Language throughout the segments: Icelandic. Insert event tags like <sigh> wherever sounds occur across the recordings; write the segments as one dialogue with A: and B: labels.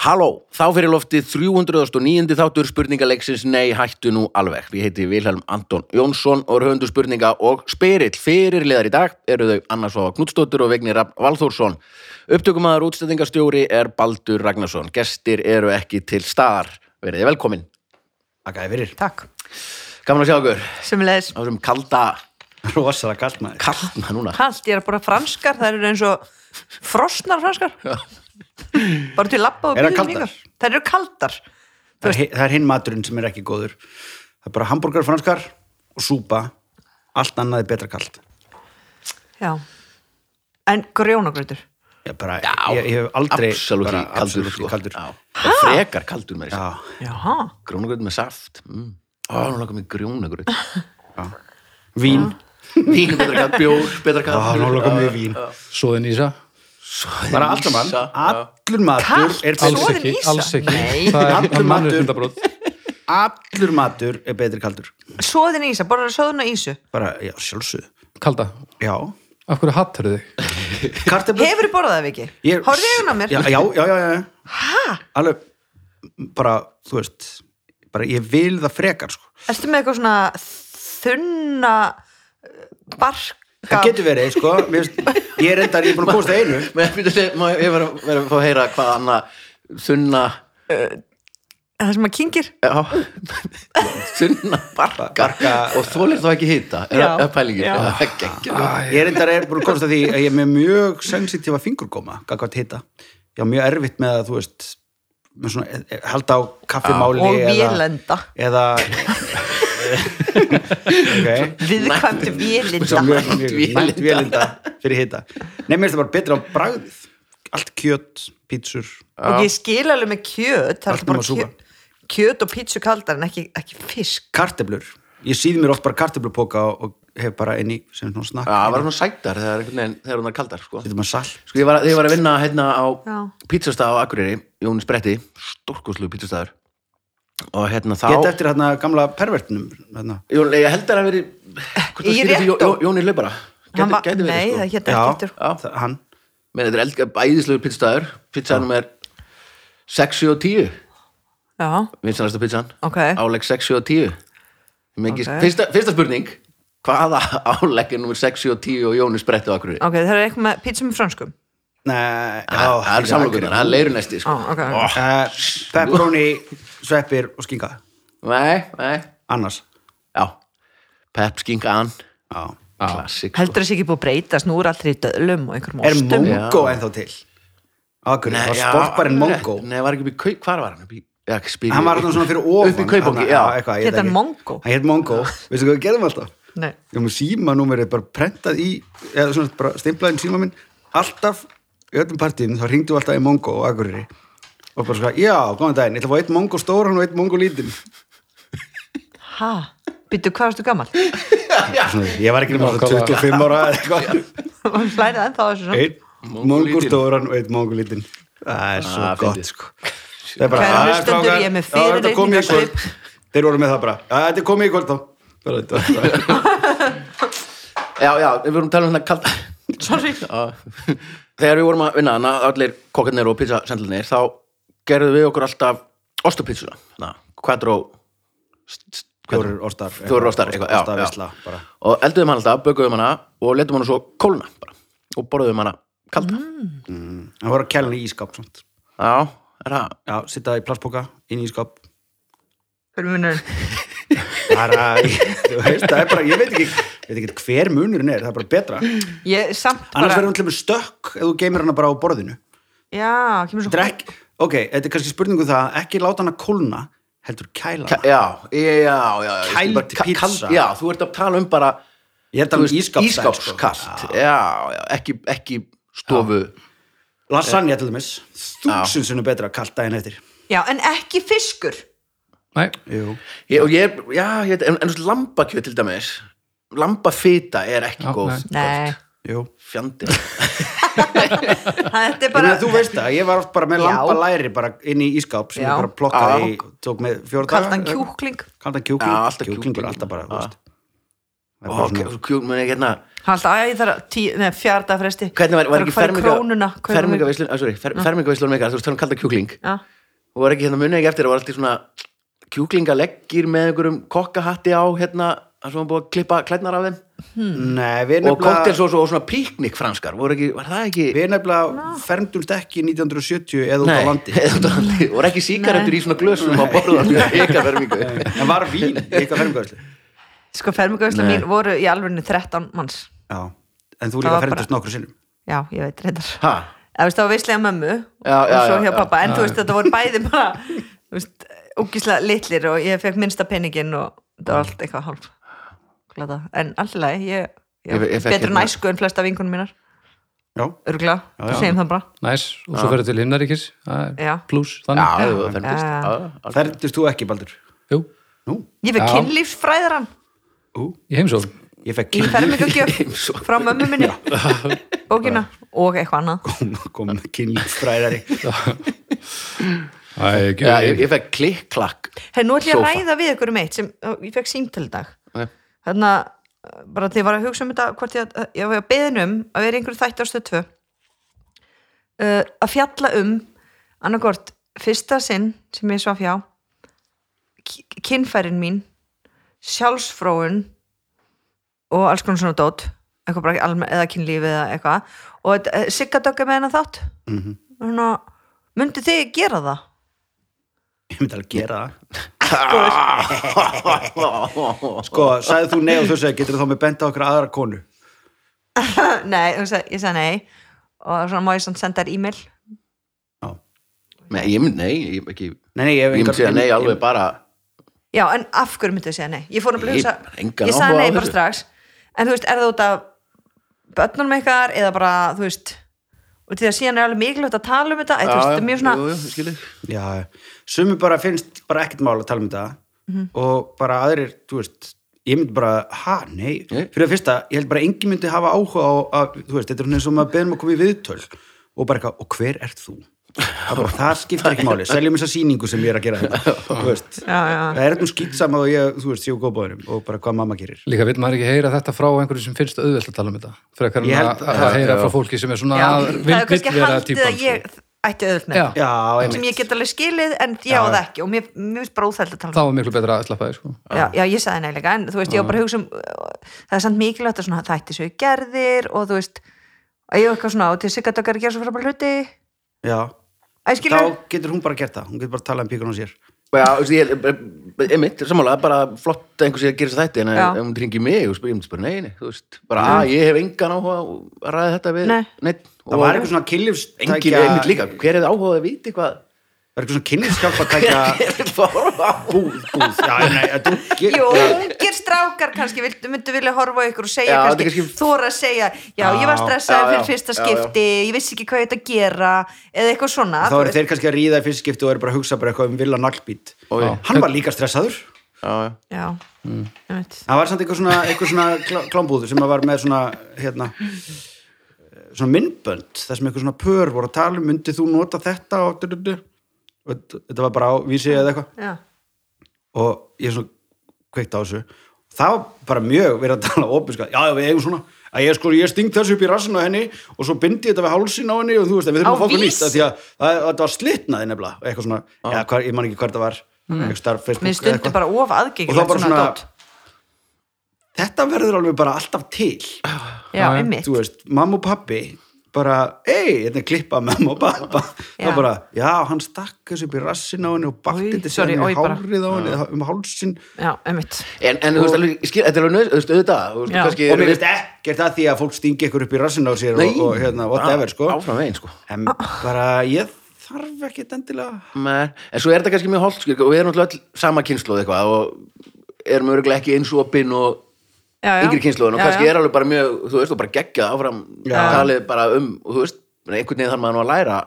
A: Halló, þá fyrir loftið 309. þáttur spurningaleiksins Nei, hættu nú alveg. Ég heiti Vilhelm Anton Jónsson og er höfundur spurninga og spyrill. Fyrirliðar í dag eru þau Anna Svafa Knudsdóttir og Vignir Rafn Valþórsson. Upptökumæðar útstæðingastjóri er Baldur Ragnarsson. Gestir eru ekki til staðar. Verðið velkomin. Akkaði fyrir.
B: Takk,
A: Gaman að sjá okkur.
B: sumulegis
A: Á þessum kalda,
C: <laughs> Rosalega kallt maður.
A: kaldna núna.
B: kallt, ég er bara franskar, það eru eins og frosnar franskar bara til labba og
C: Eru þær
B: bílum
C: kaldar?
B: líka. þær eru kaldar
C: Það er, hi- það er hinn maturinn sem er ekki góður. Það er bara hambúrgar franskar og súpa. Allt annað er betra kallt.
B: já. en grjónagröður
C: Ég, bara, ég, ég hef aldrei...
A: Absolutt
C: bara
A: kaldur.
C: absolutely
A: Sko.
C: kaldur.
A: Já. Og Frekar kaldur með þessi.
C: Já.
B: Jaha,
A: Grónagröð með saft. Mm. Ó, nú langar mig grónagröð.
C: Vín.
A: Vín er betra kall, bjór, betra kall
C: Ah, nú lokum við vín.
D: Svoðin Ísa?
C: Bara allt saman.
A: Ísa,
C: Allur matur
B: Kallt?
C: er
D: Alls
C: betur.
B: Soðin
D: ekki,
B: ýsa?
D: alls ekki.
B: Nei.
D: Það er-
C: Allur
D: það er
C: matur.
D: mannréttindabrót.
C: Allur matur er betri kaldur.
B: svoðin ísa, bara svoðin og ísu
C: Bara, já, sjálfsög.
D: Kalda,
C: Já.
D: af hverju hattur þig?
C: Kartabur.
B: hefur þið borðað það ekki? horfðu eigin á mér
C: Já, já, já, já. já. Alveg, bara, þú veist, bara ég vil það frekar, sko.
B: ertu með eitthvað svona þunna eh, barka
C: Það getur verið, sko Mér finnst, Ég er endar, ég er búin að komast að einu
A: Mér finnst að <laughs> má ég vera vera að fá að heyra hvað Anna þunna
B: það sem að kynkir
A: <laughs> já, þunna barkar
C: Barka-
A: og þólir þá ekki hita er
B: Já.
A: það er pælingin
B: Já.
A: Já, það er geggjað.
C: Ég er endar, er búin að komast að því að ég er með mjög sensitífa fingurgóma, gagvart hitta Ég á mjög erfitt með að, þú veist með svona, e- e- halda á kaffimáli
B: og
C: eða,
B: vélenda
C: eða
B: <laughs>
C: Ok
B: viðkvæmt vélenda
C: Svo mjög- mjög-
A: Vélenda.
C: Næmt vélinda fyrir hitta Nei, mér finnst það bara betra á bragðið Allt kjöt, pítsur
B: og ég skil alveg með kjöt það er
C: Allt
B: alltaf bara
C: nema súpa.
B: kjöt, kjöt og pítsu kaldar en ekki, ekki fisk
C: Karteblur Ég síði mér oft bara karteblupoka og og hef bara inn í sem svona snakk
A: Já, Ah, það var svona sætar þegar, einhvern veginn- þegar hún er kaldar sko.
C: Þetta maður salt
A: sko, ég var, þegar ég var að vinna hérna á
B: Já.
A: pizzastað á Akureyri, Jónis Bretti stórkoslu pizzastaður og hérna þá
C: Geta eftir hérna gamla pervertinum hérna.
A: Jón, ég held að það hafi verið- hvort
B: Í
A: það skýrði
B: réttó.
A: Jón- Jóni Laupara
B: Hann var-
A: Gæti- gæti verið,
B: nei,
A: sko.
B: það hétt
C: Já,
B: ekki eftir
A: Já.
C: það- hann
A: Men þetta er eldga æðislegu pizzastæður Pizzaðanum er 6 og 10
B: já,
A: Vinsanasta pizzaðan
B: Ok.
A: Álegg 6 og 10 Mikið,
B: Ok.
A: fyrsta, fyrsta spurning Hvaða álegg er nummer 6 og 10 og Jóni sprettu akkur
B: ok, það er eitthvað með pítsu með franskum
C: Nei, já,
A: Það er samlokunar, það er leiru næsti
B: á,
A: sko.
B: ok, ok.
C: uh, Pepperoni, sveppir og skinga
A: Nei, nei,
C: Annars
A: já Pep skinkan,
C: já.
A: klassik sko.
B: heldur þessi ekki búið að breytast nú er allir í döðlum og einhverjum
C: Er
B: ostum
C: mongo ennþá til? Akkur, það var
A: já,
C: stopparinn mongo
A: Nei, var ekki upp í kaup, hvar var hann? Upp í, já, ekki spyrir
C: Hann var hérna svona fyrir ofan
A: Upp í kaupóki,
C: hann-
A: já
C: eitthvað, ég veit
B: Hét hann
C: ekki.
B: Mongo?
C: Hann hétt mongo, veistu hvað við gerðum alltaf?
B: Nei.
C: Ég var með símanúmerið bara prentað í eða svona bara stimplaðin síma minn alltaf í öllum partíum þá ringdu alltaf í mongo og akkurri og bara svona, já, góðan daginn, ég ætla að fá eitt mongo stóran og eitt mongo
A: <laughs>
C: lítinn
B: ha, byttu hvað varstu <laughs> gammal
C: Svona, ég var ekki nema svona
D: Nákvæmlega.
C: 25 ára eða eitthvað
B: flærið ennþá þessu svona.
C: einn mongulstóran og einn mongulítinn það er svo
A: Ah,
C: gott
A: fyndið.
C: sko það er bara
B: Kæru
C: "Ah,
B: hlustendur,
C: strákar,
B: ég er með hérna.
C: já, þetta
B: fyrirreikninga-
C: kom í kvöld." þeir voru með það bara "Já, þetta er komið í kvöld þá
A: <laughs>
C: Bara þetta var bara-
A: Já, já, við vorum að tala um hérna kalda
B: sorry,
A: <laughs> Já. Þegar við vorum að vinna hana, allir kokkarnir og pizzasendlinir, þá gerðum við okkur alltaf ostapizzuna, na, quattro
C: fjórir ostar
A: fjórir ostar, eitthvað, já, já.
C: ostavisla bara
A: og elduðum hana alltaf, bökuðum hana og letum hana svo kólna bara, og borðuðum hana kalda.
C: það voru að kæla í ískap svont.
A: Já, er það
C: já, sitta í plastboka inn í ískap
B: hverju munur
C: bara, <laughs> þú veist, það er bara ég veit ekki, veit ekki hver munurinn er það er bara betra
B: ég samt
C: annars
B: bara,
C: verður hún til með stökk ef þú geymir hana bara á borðinu
B: já, kemur svo
C: Drekk, ok, þetta er kannski spurningu um það ekki láta hana kólna, heldur kæla hana.
A: Ka- Já, já, já, já ég
C: Kæld
A: bara- ka-
C: pizza.
A: kald- Já, þú ert að tala um bara
C: Ég held
A: þú
C: að
A: veist,
C: um ískapsæl,
A: ískapskalt Já, já, ekki, ekki stofu
C: Lasagna til dæmis, þúsund sinnum betra kallt daginn eftir.
B: já, en ekki fiskur
D: Nei,
C: Jú.
A: ég, Og ég, já, ég, en, en lambakjöð til dæmis Lambafita er ekki
D: Já,
A: góð
D: nei.
B: nei,
C: Jú.
A: Fjandi
B: þetta
C: Bara,
B: er bara
C: meina, þú veist það, ég var oft bara með
B: Já.
C: lambalæri bara inn í ískáp sem
B: Já.
C: ég bara plokkaði
A: Já.
C: í, tók með fjóra
B: kaldan
C: daga.
B: kjúkling
C: Kaldan
A: Já,
C: kjúkling,
A: alltaf
C: kjúklingur,
A: kjúkling. Ah.
C: alltaf bara, þú
A: Já.
C: veist. er bara svona-
A: Kjúl, muni ekki hérna
B: Hann alltaf, æ, ég þarf að tí, neð, fjarta fresti
A: Hvernig var, var ekki ferminga,
B: ferminga,
A: fermingaveislu ah, Sorry, fer, fermingaveislu með þú veist, þannig að kalda kjúkling
B: Já,
A: og var ekki hérna munið ekki eftir það var alltaf svona kjúklingaleggir með einhverjum kokkahatti á hérna þar sem var búið að klippa klædnar af þeim
C: Nei, við
A: og koktelsós og svona píknik franskar voru ekki, var það ekki
C: Við nefnilega fermdumst ekki 1970 eða út á
A: <laughs>
C: landi
A: eða út á landi, voru ekki síkaretur í svona glösum á borðan í ykkar
C: En var
A: <laughs>
C: vín í eitthvað fermgöðslu
B: sko fermingaveislu
A: Nei.
B: mín voru í alvegni 13 manns
C: Já, en þú
B: Það
C: líka
B: var
C: fermdumst nokkru sinnum
B: Já, ég veit reyndar
A: Ha?
B: Það veist, það var veislega mömmu
A: Já, já,
B: og svo
A: já,
B: hjá
A: já.
B: pappa, en þú veist, þetta voru bæði bara, þú veist, ógíslega litlir og ég fekk minnsta peningin og þetta var allt eitthvað hálf glada. en alltaf leið, ég, ég,
A: Ég-
B: ég,
A: ég
B: ég
A: fekk
B: betur
A: hérna-
B: næsku en flesta vinkunum mínar,
C: Já,
B: örgulega
C: já.
B: segjum það bara,
D: Næs, og
C: Ah.
D: svo ferðu til himnaríkis
B: Já.
D: Plus,
A: já,
D: þannig
A: það var Ah. fennist
B: Já.
A: já,
C: fermdumst þú ekki, Baldur
D: Jú,
C: Nú,
B: ég fekk
D: Já.
B: kynlífsfræðaran
C: ú,
D: í heimsókn
C: ég fekk
B: í fermingagjöf
A: Heimsókn.
B: frá mömmu minni bókina og eitthvað annað
C: komin kynlífsfræðari
D: Æ,
A: já, ég, ég fekk klikklakk
B: hey, nú ætlum ég að
A: Sófa.
B: ræða við ykkur um eitt sem ó, ég fekk símtal í dag
A: Ok.
B: þannig að bara því ég var að hugsa um þetta hvort ég, ég var að beðin um að vera í einhverju þætti á stöð 2 uh, að fjalla um annarkort fyrsta sinn sem ég svaf hjá ki- kynfærin mín sjálfsfróun og alls konar svona dót eitthvað bara almen, eða kynlífi eða eitthvað og þetta- eh, Sigga Dögg er með hennar þátt mm -hmm. myndi þið gera það?
C: Ég myndi alveg gera
A: <laughs>
C: það Sko, sagði þú nei og þú segir, getur þú þá með benda okkur aðra konu
B: nei, þú sag, ég sagði nei og svona má ég svona senda þér e-mail
A: Nei, ég mynd, nei, ég, ekki, ég
C: Nei, nei, ég hef
A: mynd segja nei alveg
C: ég-
A: bara
B: já, en af hverju myndið þið segja nei? ég fór að
A: Ég-
B: hugsa,
A: engan
B: ég
A: áhuga
B: sagði
A: á
B: nei bara
A: þessu.
B: strax en þú veist, er það út af börnunum ykkar eða bara, þú veist og til það síðan er alveg mikilvægt að tala um þetta eða, þú veist, þetta er mjög svona,
A: jú, jú, ég skil þig.
C: Já, sumi bara finnst bara ekkert mál að tala um þetta
B: Mhm.
C: og bara aðrir, þú veist ég myndi bara, ha, nei,
A: Nei.
C: fyrir að fyrsta ég held bara engin myndi hafa áhuga á að, þú veist, þetta er svona eins og maður beðum að koma í viðtöl og bara eitthvað, og hver ert þú? Það, er bara, það skiptir ekki máli, seljum þessa sýningu sem ég er að gera þetta,
A: <laughs>
C: þú veist
B: já, já,
C: það er eitthvað skýtsam að ég, þú veist, séu góðbóðurum og bara hvað mamma gerir
D: Líka vil maður ekki heyra þetta frá einhverju sem finnst auðvelt að tala um þetta frekar
C: Ég
D: en
C: held-
D: að, að heyra frá fólki sem er svona
B: já
D: að,
B: það
D: vil,
B: er kannski
D: vil vera
B: haldið
D: típan sko.
B: að ég ætti auðvöld með
D: Já.
B: þetta,
C: Já, einmitt
B: sem ég get alveg skilið en ég á það ekki og mér, mér finnst bara óþæld að tala um
D: þá er miklu betra að sleppa því sko.
B: já, já, ég sagði neilega, en þú veist, ég var bara að hugsa um uh, það er samt mikilvægt að svona þætti svo gerðir og þú veist að ég var eitthvað svona og til sikkert okkar að gera svo frábæra hluti
C: Já,
B: að ég skilur,
C: þá getur hún bara gert það hún getur bara að tala um píkur hún sér
A: Já, þú veist, ég er- einmitt, sammála, bara flott að einhver sé að gera þess að þætti, en
B: Já.
A: ef hún ringi mig og spyrir, ég myndi spyrir, nei, nei, þú veist,
C: Mm.
A: bara, að, ég hef engan áhuga á að ræða þetta við,
B: Nei.
A: neinn,
C: Það
A: og
C: var eitthvað svona kynlífstækja
A: engin, einmitt líka, hver hefði áhuga á að viti hvað,
C: var eitthvað svona kynlífskalpatækja
A: <laughs> hver hefði áhuga á að horfa á?
C: búð, búð, já, nei, þú ge-
B: jú, ungir strákar kannski vildu, myndu vilja horfa á ykkur og segja
A: Já, þetta er
B: kannski,
A: kannski-
B: þóra að segja já, ég var
C: Já,
A: já,
B: stressað
A: já,
B: fyrir fyrsta
A: já, já.
B: skipti ég vissi ekki hvað ég ætti að gera eða eitthvað svona
C: þá
B: þú
C: eru
B: veist.
C: þeir kannski að ríða í fyrst skipti og eru bara að hugsa bara eitthvað um vilja naglbít
A: Ó, já.
C: hann var líka stressaður
A: Já, já.
B: já, einmitt
C: það var samt eitthvað svona, eitthvað svona klá, klámbúð sem að var með svona hérna, svona myndbönd þar sem eitthvað svona pör voru að tala um myndið þú nota þetta og, du, du, du. og þetta- þetta var bara á vísi eða eitthvað
B: já,
C: og ég svona kveikt á þessu það var bara mjög verið að tala opinska já, já, við eigum svona að ég sko, ég sting þessu upp í rassin á henni og svo bindi ég þetta við hálsin á henni og þú veist, en við þurfum
B: Á
C: að fá okkur
B: Vís?
C: nýtt af því að það- að þetta var slitnaði nefnilega og eitthvað svona, já, hvar, ég man ekki hvað það var eitthvað starf, Facebook
B: Mm. mér
C: eða
B: stundu
C: eitthvað.
B: bara
C: og
B: of
C: það
B: aðgengilegt
C: bara svona
B: dót.
C: þetta verður alveg bara alltaf til
B: já,
D: Já, já.
B: einmitt
C: þú veist, mamma og pappi bara, ei, þetta er klippa af mamma og pappa,
B: Já.
C: það bara, já, hann stakk þessu upp í rassin á henni og bakti
B: Oj,
C: þetta
B: sorry,
C: síðan í
B: oj, bara.
C: hárið á henni um hálsin
B: já, einmitt
A: En, en þú veist, alveg, ég skil, þetta er alveg nöðs, þú veist, auðvitað, þú veist,
B: Já.
A: kannski
C: og mér finnst ekkert að því að fólk stingi ykkur upp í rassinu á sér og, og hérna, whatever,
D: Ah,
C: sko
A: Áfram veginn, sko.
C: en bara ég þarf ekki endilega
A: Nei, en svo er þetta kannski mjög holdt, skil, og við erum alltaf sama kynnslóð eitthvað, og erum örgulega ekki eins og opinn og
B: já, já.
A: yngri kynnslóðin og
B: Já,
A: kannski
B: já.
A: er alveg bara mjög, þú veist, og bara geggjað áfram talið bara um, og þú veist einhvern veginn þarf maður nú að læra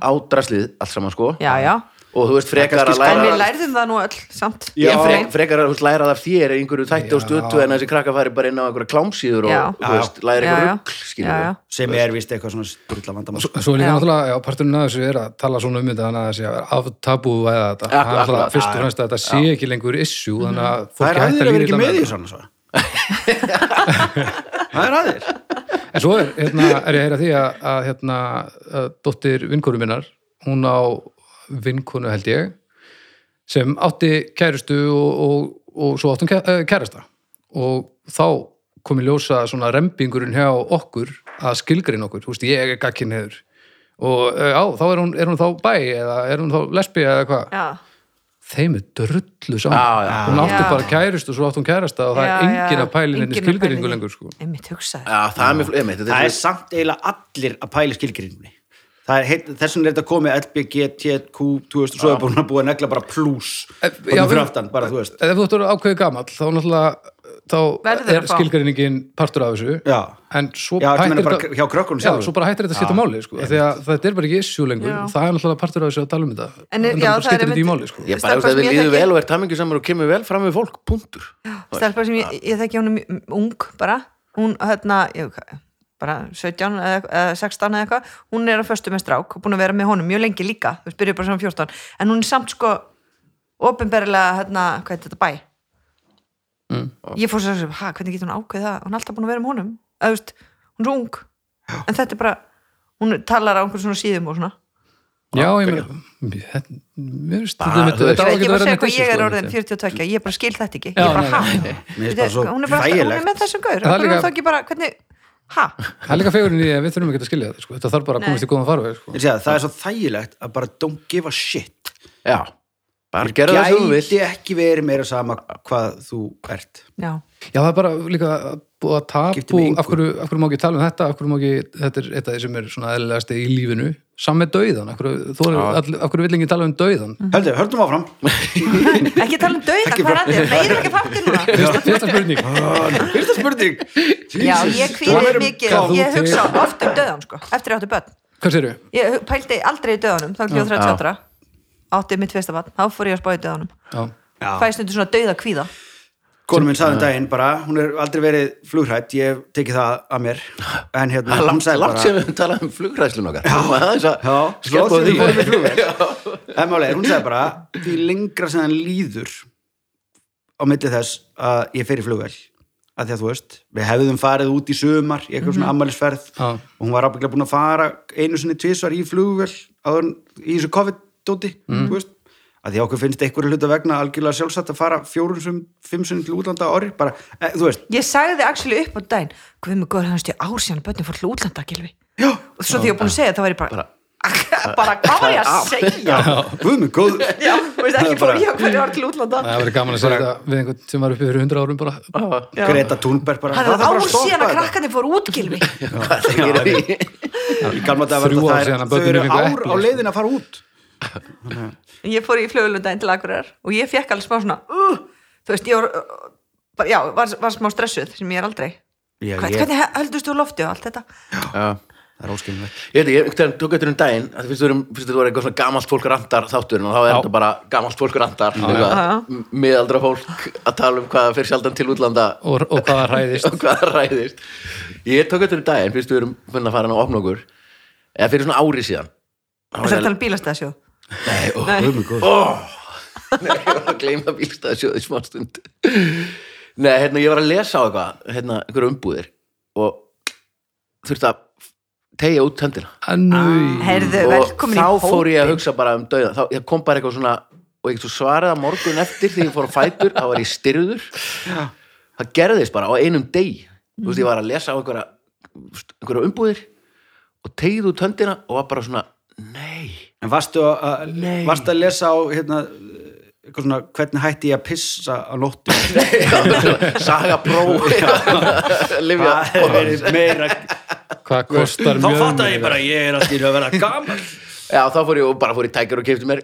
A: á draslið allt saman, sko
B: Mhm. já, já,
A: og þú veist, frekar
C: kannski
A: að
B: en við
A: læra
B: lærðum það nú öll samt
A: ég
C: Já.
A: frek, frekar að þú veist, læra það af þér í einhverju þætti og
D: Já.
A: stötu en þessi krakka fari bara inn á einhverja klámsýður og,
B: Já.
A: þú veist, læra
B: Já,
A: einhverju
B: já.
A: rugl, skilur
B: Já,
A: við
B: já.
C: sem er vist eitthvað svona strulla vandamál
D: En Svo er líka
B: Já.
D: náttúrulega, já, parturinn að þessu er að tala svona um þetta þannig að það sé að vera aftabú eða þetta,
A: Akkurat,
D: það er náttúrulega
A: akkurat,
D: fyrst og fremst að þetta sé ekki lengur issue, þannig að
C: það
D: fólki
C: er
D: hættar
C: aðeins að vera
D: líka
C: ekki með
D: með
C: því sko.
D: þetta.
C: svona svo. Það er aðeir
D: En svo er, hérna, er ég að heyra því að, að hérna, að dóttir vinkonu minnar, hún á vinkonu held ég, sem átti kærustu og, og, og svo átti hún kæ- eh, kærasta. Og þá kom í ljósa svona rembingurinn hjá okkur að skilgrein okkur, þú veist, ég er gagkinn hefur. Og eh, á, þá er hún, er hún þá bæ eða er hún þá lesbí eða hvað.
B: já,
D: Þeim er drullu saman.
A: Já, já.
D: Hún átti
B: Já.
D: bara kærustu og svo átti hún kærasta og það
B: Já,
D: er engin
B: já.
D: að pæli
B: Enginn
D: henni
B: að pæla í
D: skilgreiningu
B: því.
D: lengur, sko.
B: einmitt hugsaði
A: Já, það er mjög flókið, einmitt, þetta
C: Það
A: er
C: er samt eiginlega allir að pæli skilgrinningunni Þessum er þetta komið LBG, TQ, þú veist og svo er búin að búa að negla bara pluss
D: já,
C: bara fyrir
D: við-
C: aftan, bara þú veist
D: ef þú ert að vera ákveðið gamall þá náttúrulega
B: Verður
D: þá
B: að
D: er
B: fá.
D: skilgreiningin partur af þessu
C: Já.
D: en svo
C: Já, þetta meina
D: hættir
C: bara
D: þetta-
C: hjá krökkunum
D: já,
C: sjálfum.
D: svo bara hættir þetta að skipta máli sko, því að þetta er bara ekki issue lengur
B: Já.
D: og það er náttúrulega partur af þessu að tala um þetta
B: En er-
D: Þannig
B: já,
D: að bara
B: það er
D: skiptir þetta í
B: einmitt-
D: máli sko.
A: Ég bara, ef
B: Stelpa sem
A: það
B: ég
A: líður
B: þekki.
A: vel og er tamingi samar og kemur vel fram við fólk, punktur.
B: stelpa sem ég, ég þekki honum m- ung bara, hún hérna ég, hvað, bara 17 eða, eða 16 eða eitthvað, hún er að föstu með strák og búin að vera með honum mjög lengi líka þú veist, byrjuð bara saman 14, en hún er samt sko ofinberlega hérna, hvað er þetta bæ
D: Mm.
B: ég fór sér að segja, hæ, hvernig getur hún ákveð það hún er alltaf búin að vera með honum, eða þú veist hún er svo ung, en þetta er bara hún talar á einhvern svona síðum og svona
D: já, ég meina mér- mér finnst
A: Bara,
D: þetta mitt-
A: þú veist,
D: þetta
B: ég
D: á ekki
B: er
D: að
B: bara að
D: vera
B: segja
D: neitt
B: hvað
D: issue,
B: ég er
D: sko,
B: orðin
D: þetta.
B: 42, ég bara skil þetta ekki
D: Já,
B: ég bara,
D: nei,
B: hæ,
D: nei,
C: Mér finnst
B: Þetta-
C: bara svo
B: hún er bara alltaf, hún er
C: þægilegt.
B: með þessum gaur
D: En það
B: það er
D: líka-
B: þá ekki bara, hvernig, hæ
D: það er líka fegurinn í því að við þurfum ekki að skilja þetta sko. þetta þarf bara að
B: Nei.
D: komast í góðan farveg sko.
C: Ég segi það, það er svo þægilegt að bara don't give a shit
A: Já, bara gerðu það sem þú vil.
C: Gæti ekki verið meira sama hvað þú ert
B: já,
D: Já, það er bara líka búið að
C: Skiptir
D: tapu
C: mig engu.
D: af hverju, af hverju má ekki tala um þetta af hverju má ekki, þetta er eitt af því sem er svona eðlilegasti í lífinu, saman með dauðan af hverju, þorir, all, af hverju vill ekki tala um dauðan
C: Höldu, höldum áfram <laughs>
B: ekki tala um dauða, hvað er að þér það er ekki þáttir núna
D: Fyrsta fyrsta <laughs> spurning,
C: Fyrsta spurning
B: já, ég kvíðir mikið,
D: hvað þú
B: ég hugsa
D: til-
B: oft um döðan sko, eftir ég átti börn
D: hvað sérðu?
B: ég hu- pældi aldrei í döðanum, þá ekki á 34 átti mitt fyrsta vatn, þá fór ég að spá í döðanum
D: Já,
B: fæst undir svona dauða kvíða
C: Konum minn sagði um daginn bara, hún er aldrei verið flugrætt, ég hef tekið það að mér en hérna,
A: Það er
C: hún
A: langt,
C: sagði
A: langt
C: bara
A: sem við höfum talað um flugræslun okkar. Já, það er
C: Já,
A: skemmt
C: slóð
A: á
C: sem
A: því.
C: við fórum í flugvél En máli, er, hún sagði bara því lengra sem hann líður á milli þess að ég fer í flugvél að því að þú veist, við hefðum farið út í sumar í eitthvað svona
B: Mhm.
C: ammælisferð
D: Já.
C: og hún var ábygglega búin að fara einu sinni tvisvar í flugvél áður, en- í þessu COVID-dóti
B: Mhm.
C: þú veist að því að okkur finnst einhverju hluta vegna algjörlega sjálfsagt að fara fjórun sem fimm sinni til útlanda á ári bara, e, þú veist,
B: ég sagði actually upp á daginn hvað með góður hans til ársíðan börnum fór til útlanda gilvi og svo því ég var búin að segja það var ég bara <laughs> bara hvað var ég að segja
C: guð minn, góð
B: já, veist ekki fór ég á hverju var til útlanda
D: það verður gaman að segja þetta við einhvern sem var uppi fyrir 100 árum bara
B: Já.
C: Greta Thunberg bara,
B: það
C: þarf
B: var
C: bara
B: ár síðan að
C: þetta.
B: krakkarnir fór út gilvi
A: Hvað það gerir því?
C: í gamla dag var
D: Þrjú
C: þetta
D: ár
C: þær-
D: síðan að
C: þau
D: börnin
C: eru
D: fengu
C: ár á
D: epli, sko.
C: leiðin að fara út
B: ég fór í flugulundaginn til Akureyrar og ég fekk alveg smá svona uh, þú veist, ég var, uh, bara, já, var, var smá stressuð sem ég er aldrei
C: Já,
B: Hvað,
C: ég-
B: hvernig höldust þú lofti og allt þetta
A: Já.
C: það er óskilvægt
A: Ég veit, ekki, ég einhvern veginn tók eftir um daginn að fyrst þú fyrst þetta var eitthvað svona gamalt fólk randar þátturinn og þá er
D: Já.
A: þetta bara gamalt fólk randar
B: Já, já.
A: eitthvað, m- miðaldra fólk að tala um hvaða fyrir sjaldan til útlanda
D: og, og hvaða
A: og
D: <laughs> hræðist
A: hvaða ræðist Ég tók eftir um daginn fyrst þú erum funn að fara hann og opna okkur eða fyrir svona ári síðan Þá var
B: það
A: ég-
B: er talað bílastæðasjóð
A: Nei, ó,
B: Nei.
A: ó, Nei, ég var að gleyma bílstæðasjóði smá stund Nei, hérna, ég var að lesa á eitthvað hérna, einhverja umbúðir og þurfti að tegja út höndina
D: Nú,
B: herðu,
A: og
B: velkomin
A: þá
B: í
A: fór
B: hópin
A: ég að hugsa bara um dauðan þá ég kom bara eitthvað svona og ég svo svaraði að morgun eftir þegar ég fór á fætur þá var ég styrður það gerðist bara á einum deg þú
B: Mhm.
A: veist ég var að lesa á einhverja, einhverja umbúðir og tegið út höndina og var bara svona nei,
C: en varstu að,
A: Nei.
C: varstu að lesa á hérna, eitthvað svona, hvernig hætti ég að pissa á <laughs> nóttu
A: <laughs> saga pró <laughs> Livja
C: það er verið meira
D: hvað kostar
C: þá
D: mjög
C: fattar ég bara, ég er allt í raun að
B: <laughs>
C: vera gammal
A: Já, þá fór ég og bara fór í tækjar og kefti mér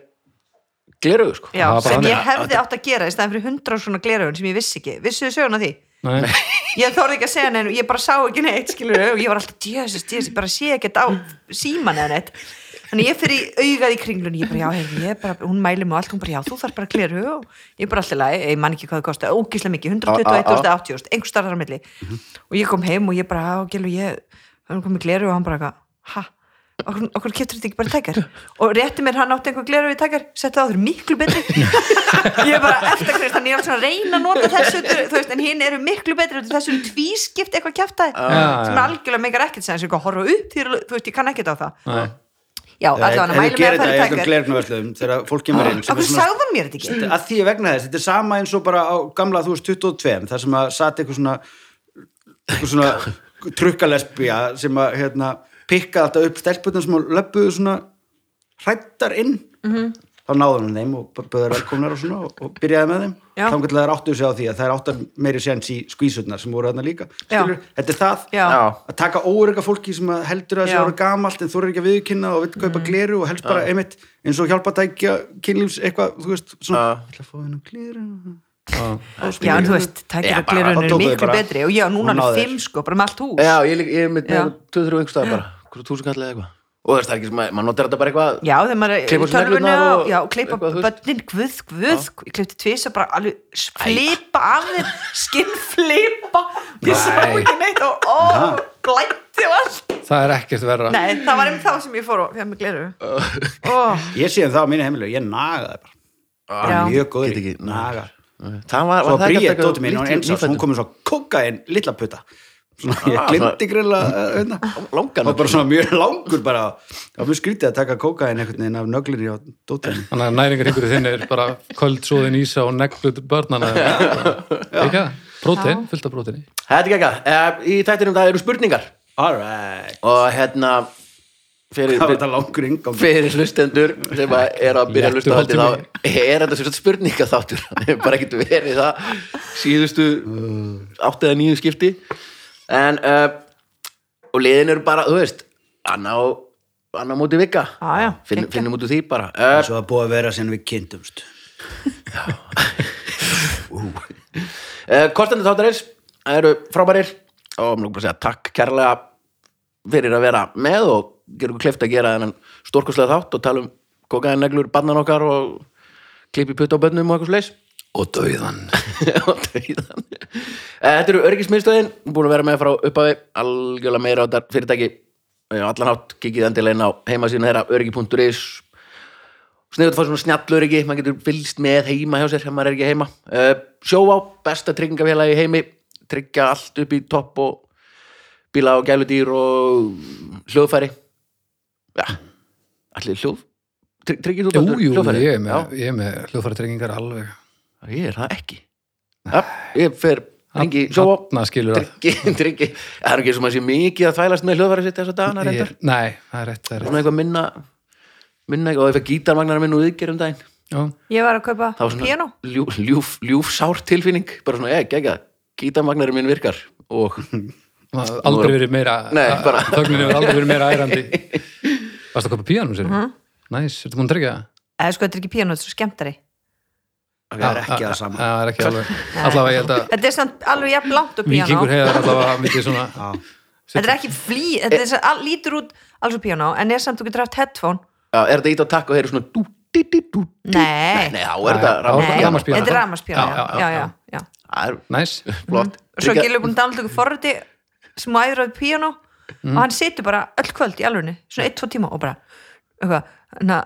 A: gleruðu sko
B: já,
D: Það var bara
B: sem
D: þannig.
B: ég hefði átt að gera í staðan fyrir hundra svona gleraugun sem ég vissi ekki vissu þið söguna af því?
D: Nei,
B: ég þorði ekki að segja neinu, ég bara sá ekki neitt skilur, og ég var alltaf, djöðsins, djöðsins, ég bara sé ekkert á síman eða neitt þannig ég fyrir augað í kringlunni ég bara, já, heyrðu, ég bara, hún mælir mig á allt hún bara, já, þú þarf bara að klera hug ég bara alltaf, ég man ekki hvað það kosti, ógíslega mikið 121.80, einhver starðar á milli og ég kom heim og ég bara, á, gælu, ég hann kom með gleru og hann bara, eitthvað, ha okkur, okkur keftur þetta ekki bara tækjar og rétti mér hann átti einhver gleru við tækjar setti það á þurr miklu betri <laughs> ég er bara eftir Kristján, ég er alveg svona að reyna að nota þessu, þú veist, en hinn eru miklu betri út af þessu tvískipt eitthvað kjaftaði
C: Ah,
D: Já,
B: sem er
D: já.
B: algjörlega meikar ekkert sem eitthvað að horfa upp, til- þú veist, ég kann ekkert á það
D: Nei.
B: já, allavega,
C: En þú
B: mælum ég að
C: gerir þetta í
B: fara í
C: öllum
B: tækjar
C: glernaverslum þegar fólk kemur inn sem er
B: okkur
C: svona-
B: sagði hann mér þetta ekki
C: að því vegna þess, þetta er sama eins og bara á gamla, þú veist, 22, þar sem að satt eitthvað svona eitthvað svona trukkalesbía sem að hérna, pikkaði alltaf upp stelpunum sem að löppuðu svona hrættar inn
B: Mhm.
C: -hmm. þá náður hann þeim og böður velkomnar og svona og, og byrjaði með þeim
B: Já.
C: þá getur þær áttuðu sig á því að þær áttar meiri séns í skvísurnar sem voru þarna líka
B: Já.
C: Skilur, þetta er það
B: Já.
A: Já.
C: að taka óreika fólki sem að heldur að
B: Já.
C: þessi ára gamalt en þú eru ekki að viðkynna og vill kaupa gleru og helst bara einmitt eins og hjálpa að tækja kynlífs eitthvað, þú veist, svona
A: Já.
C: ætla að fá hennan gleru
B: já, en þú veist,
A: Já, bara-
B: tækjar glerun
C: þá
B: eru
C: tóku þau
B: miklu
C: bara-
B: betri og já, núna
C: Hún náði
B: er
C: þér.
B: fimm sko, bara með allt hús
A: Já, ég, er lík- ég er með
B: Já.
A: 2-3 einhver stað bara, hverju túsundkall eða eitthvað og það er ekki, maður maður notar þetta bara eitthvað
B: Já, þegar maður er
A: Klippa
B: í tölvunni
A: sneglurnar
B: og,
A: og-
B: já, og klippa
A: eitthvað, þú veist.
B: bönnin, guð, guð, ég klippti tvisa bara alveg s- flipa af þeir, skinn flipa, ég sá
D: Nei.
B: ekki neitt og ó, glætti og allt.
D: það er ekkert verra
B: Nei, það var einmitt þá sem ég fór og fjár með gleru. Ó,
C: ég sé um það á mínu heimilu, ég naga það bara
B: já,
C: Ég er mjög góður
A: Get
C: í
A: ekki-
C: naga
A: Ah, það var,
C: svo að
A: var það ekki
C: bríja
A: alltaf
C: dóti mín og
A: lítið-
C: eins og hún
A: nýfæddur?
C: komið svo koka en lilla putta svona, ég
A: Ah,
C: glindi
A: <laughs>
C: greinlega uh, hérna.
A: langan
C: og bara svona mjög langur bara það var mjög skrítið að taka koka en einhvern veginn af nöglinni á dóti mín
D: þannig að næringarhingurinn þinn er bara <laughs> köld svoðin ísa og neglut börnana ekki, prótein, fullt af próteini
A: Þetta er ekki eitthvað, í tættinum það eru spurningar
C: alright,
A: og hérna
C: það
A: fyrir,
C: var þetta langur yngang
A: fyrir hlustendur sem að er að byrja að hlusta á
D: Léttur
A: þetta
D: heldur
A: þá er þetta sem sagt spurninga þáttur <laughs> það er bara ekkert verið það síðustu átt eða nýju skipti en uh, og liðin eru bara, þú veist anna og anna á móti vika
B: Já, já,
A: Finn,
B: geggjað.
A: finnum út úr því bara uh,
C: svo að búa að vera sem við kynntumst
A: uh, Kostandi þáttarins eru frábærir og mér langar bara að segja takk kærlega fyrir að vera með og gera okkur kleift að gera þennan stórkoslega þátt og tala um kokaðineglur, bannan okkar og klippi putt á bönnum og eitthvað sleis
D: og dauðan
A: <laughs> og dauðan Eh, Þetta eru örgismiðstöðin, búin að vera með frá upphafi algjörlega meira á þetta fyrirtæki Eh, á allan hátt, kikið endilegin á heimasíðuna þeirra örgi.is sniður að fá svona snjallöryggi, maður getur fylgst með heima hjá sér ef maður er ekki heima uh, sjóvá, besta tryggingafélagi í heimi tryggja allt upp í topp og bíla og gæludýr og hljóðfæri já, allir hljóð Tryg- tryggir þú
D: jú,
A: Baldur,
D: jú,
A: hljóðfæri?
D: ég er
A: Já.
D: með, ég er með hljóðfæratryggingar alveg
A: Ég er það ekki ja, Ég fer, ringi sjóa
D: Þarna skilur það
A: Tryggi, tryggi Það er ekki sem að sé mikið að þvælast með hljóðfæra sitt þess að dana reyndar
D: Ég- nei, það er rétt, það er rétt
A: Svona eitthvað minna minna eitthvað og ég fekk gítarmagnara minn úr viðgerum daginn
D: já,
B: ég var að kaupa
A: Það var svona
B: piano.
A: ljú, ljúf, ljúfsár tilfinning bara svona, ég, gegga, gítarmagnara minn virkar
D: <laughs>
A: og
D: það hefur aldrei verið meira
A: Nei, bara-
D: þögnin hefur aldrei verið meira ærandi varstu að kopa píanum sér næs, ertu búin að tryggja það?
B: Eða sko, þetta er ekki piano, þetta er svo skemmtari.
C: það er
A: Ah,
C: ekki það sama
D: það er ekki alveg, allavega ég held að
B: Þetta er samt alveg jafn langt og piano.
D: vikingur heiðar allavega myndi svona
B: Þetta er ekki flý, þetta er, all, lítur út alls og piano, en er samt þú getur haft headphone.
A: já, er þetta ít á takk og heyri svona dú, dí, dí, dú, dí.
B: Nei.
A: Nei, þá er þetta
D: Nei,
A: ráð
D: þá
B: Nei,
D: Rafmagnspiano.
B: þetta er ramaspíano,
D: Já,
B: já,
D: já,
B: já, já,
D: já.
B: já.
A: Það er
D: næs,
A: flott
B: og svo
A: Tryggja-
B: Gilur búin að downloada ykkur forriti sem æður á piano og hann situr bara öll kvöld í alvörni svona 1-2 tíma og bara eitthvað, na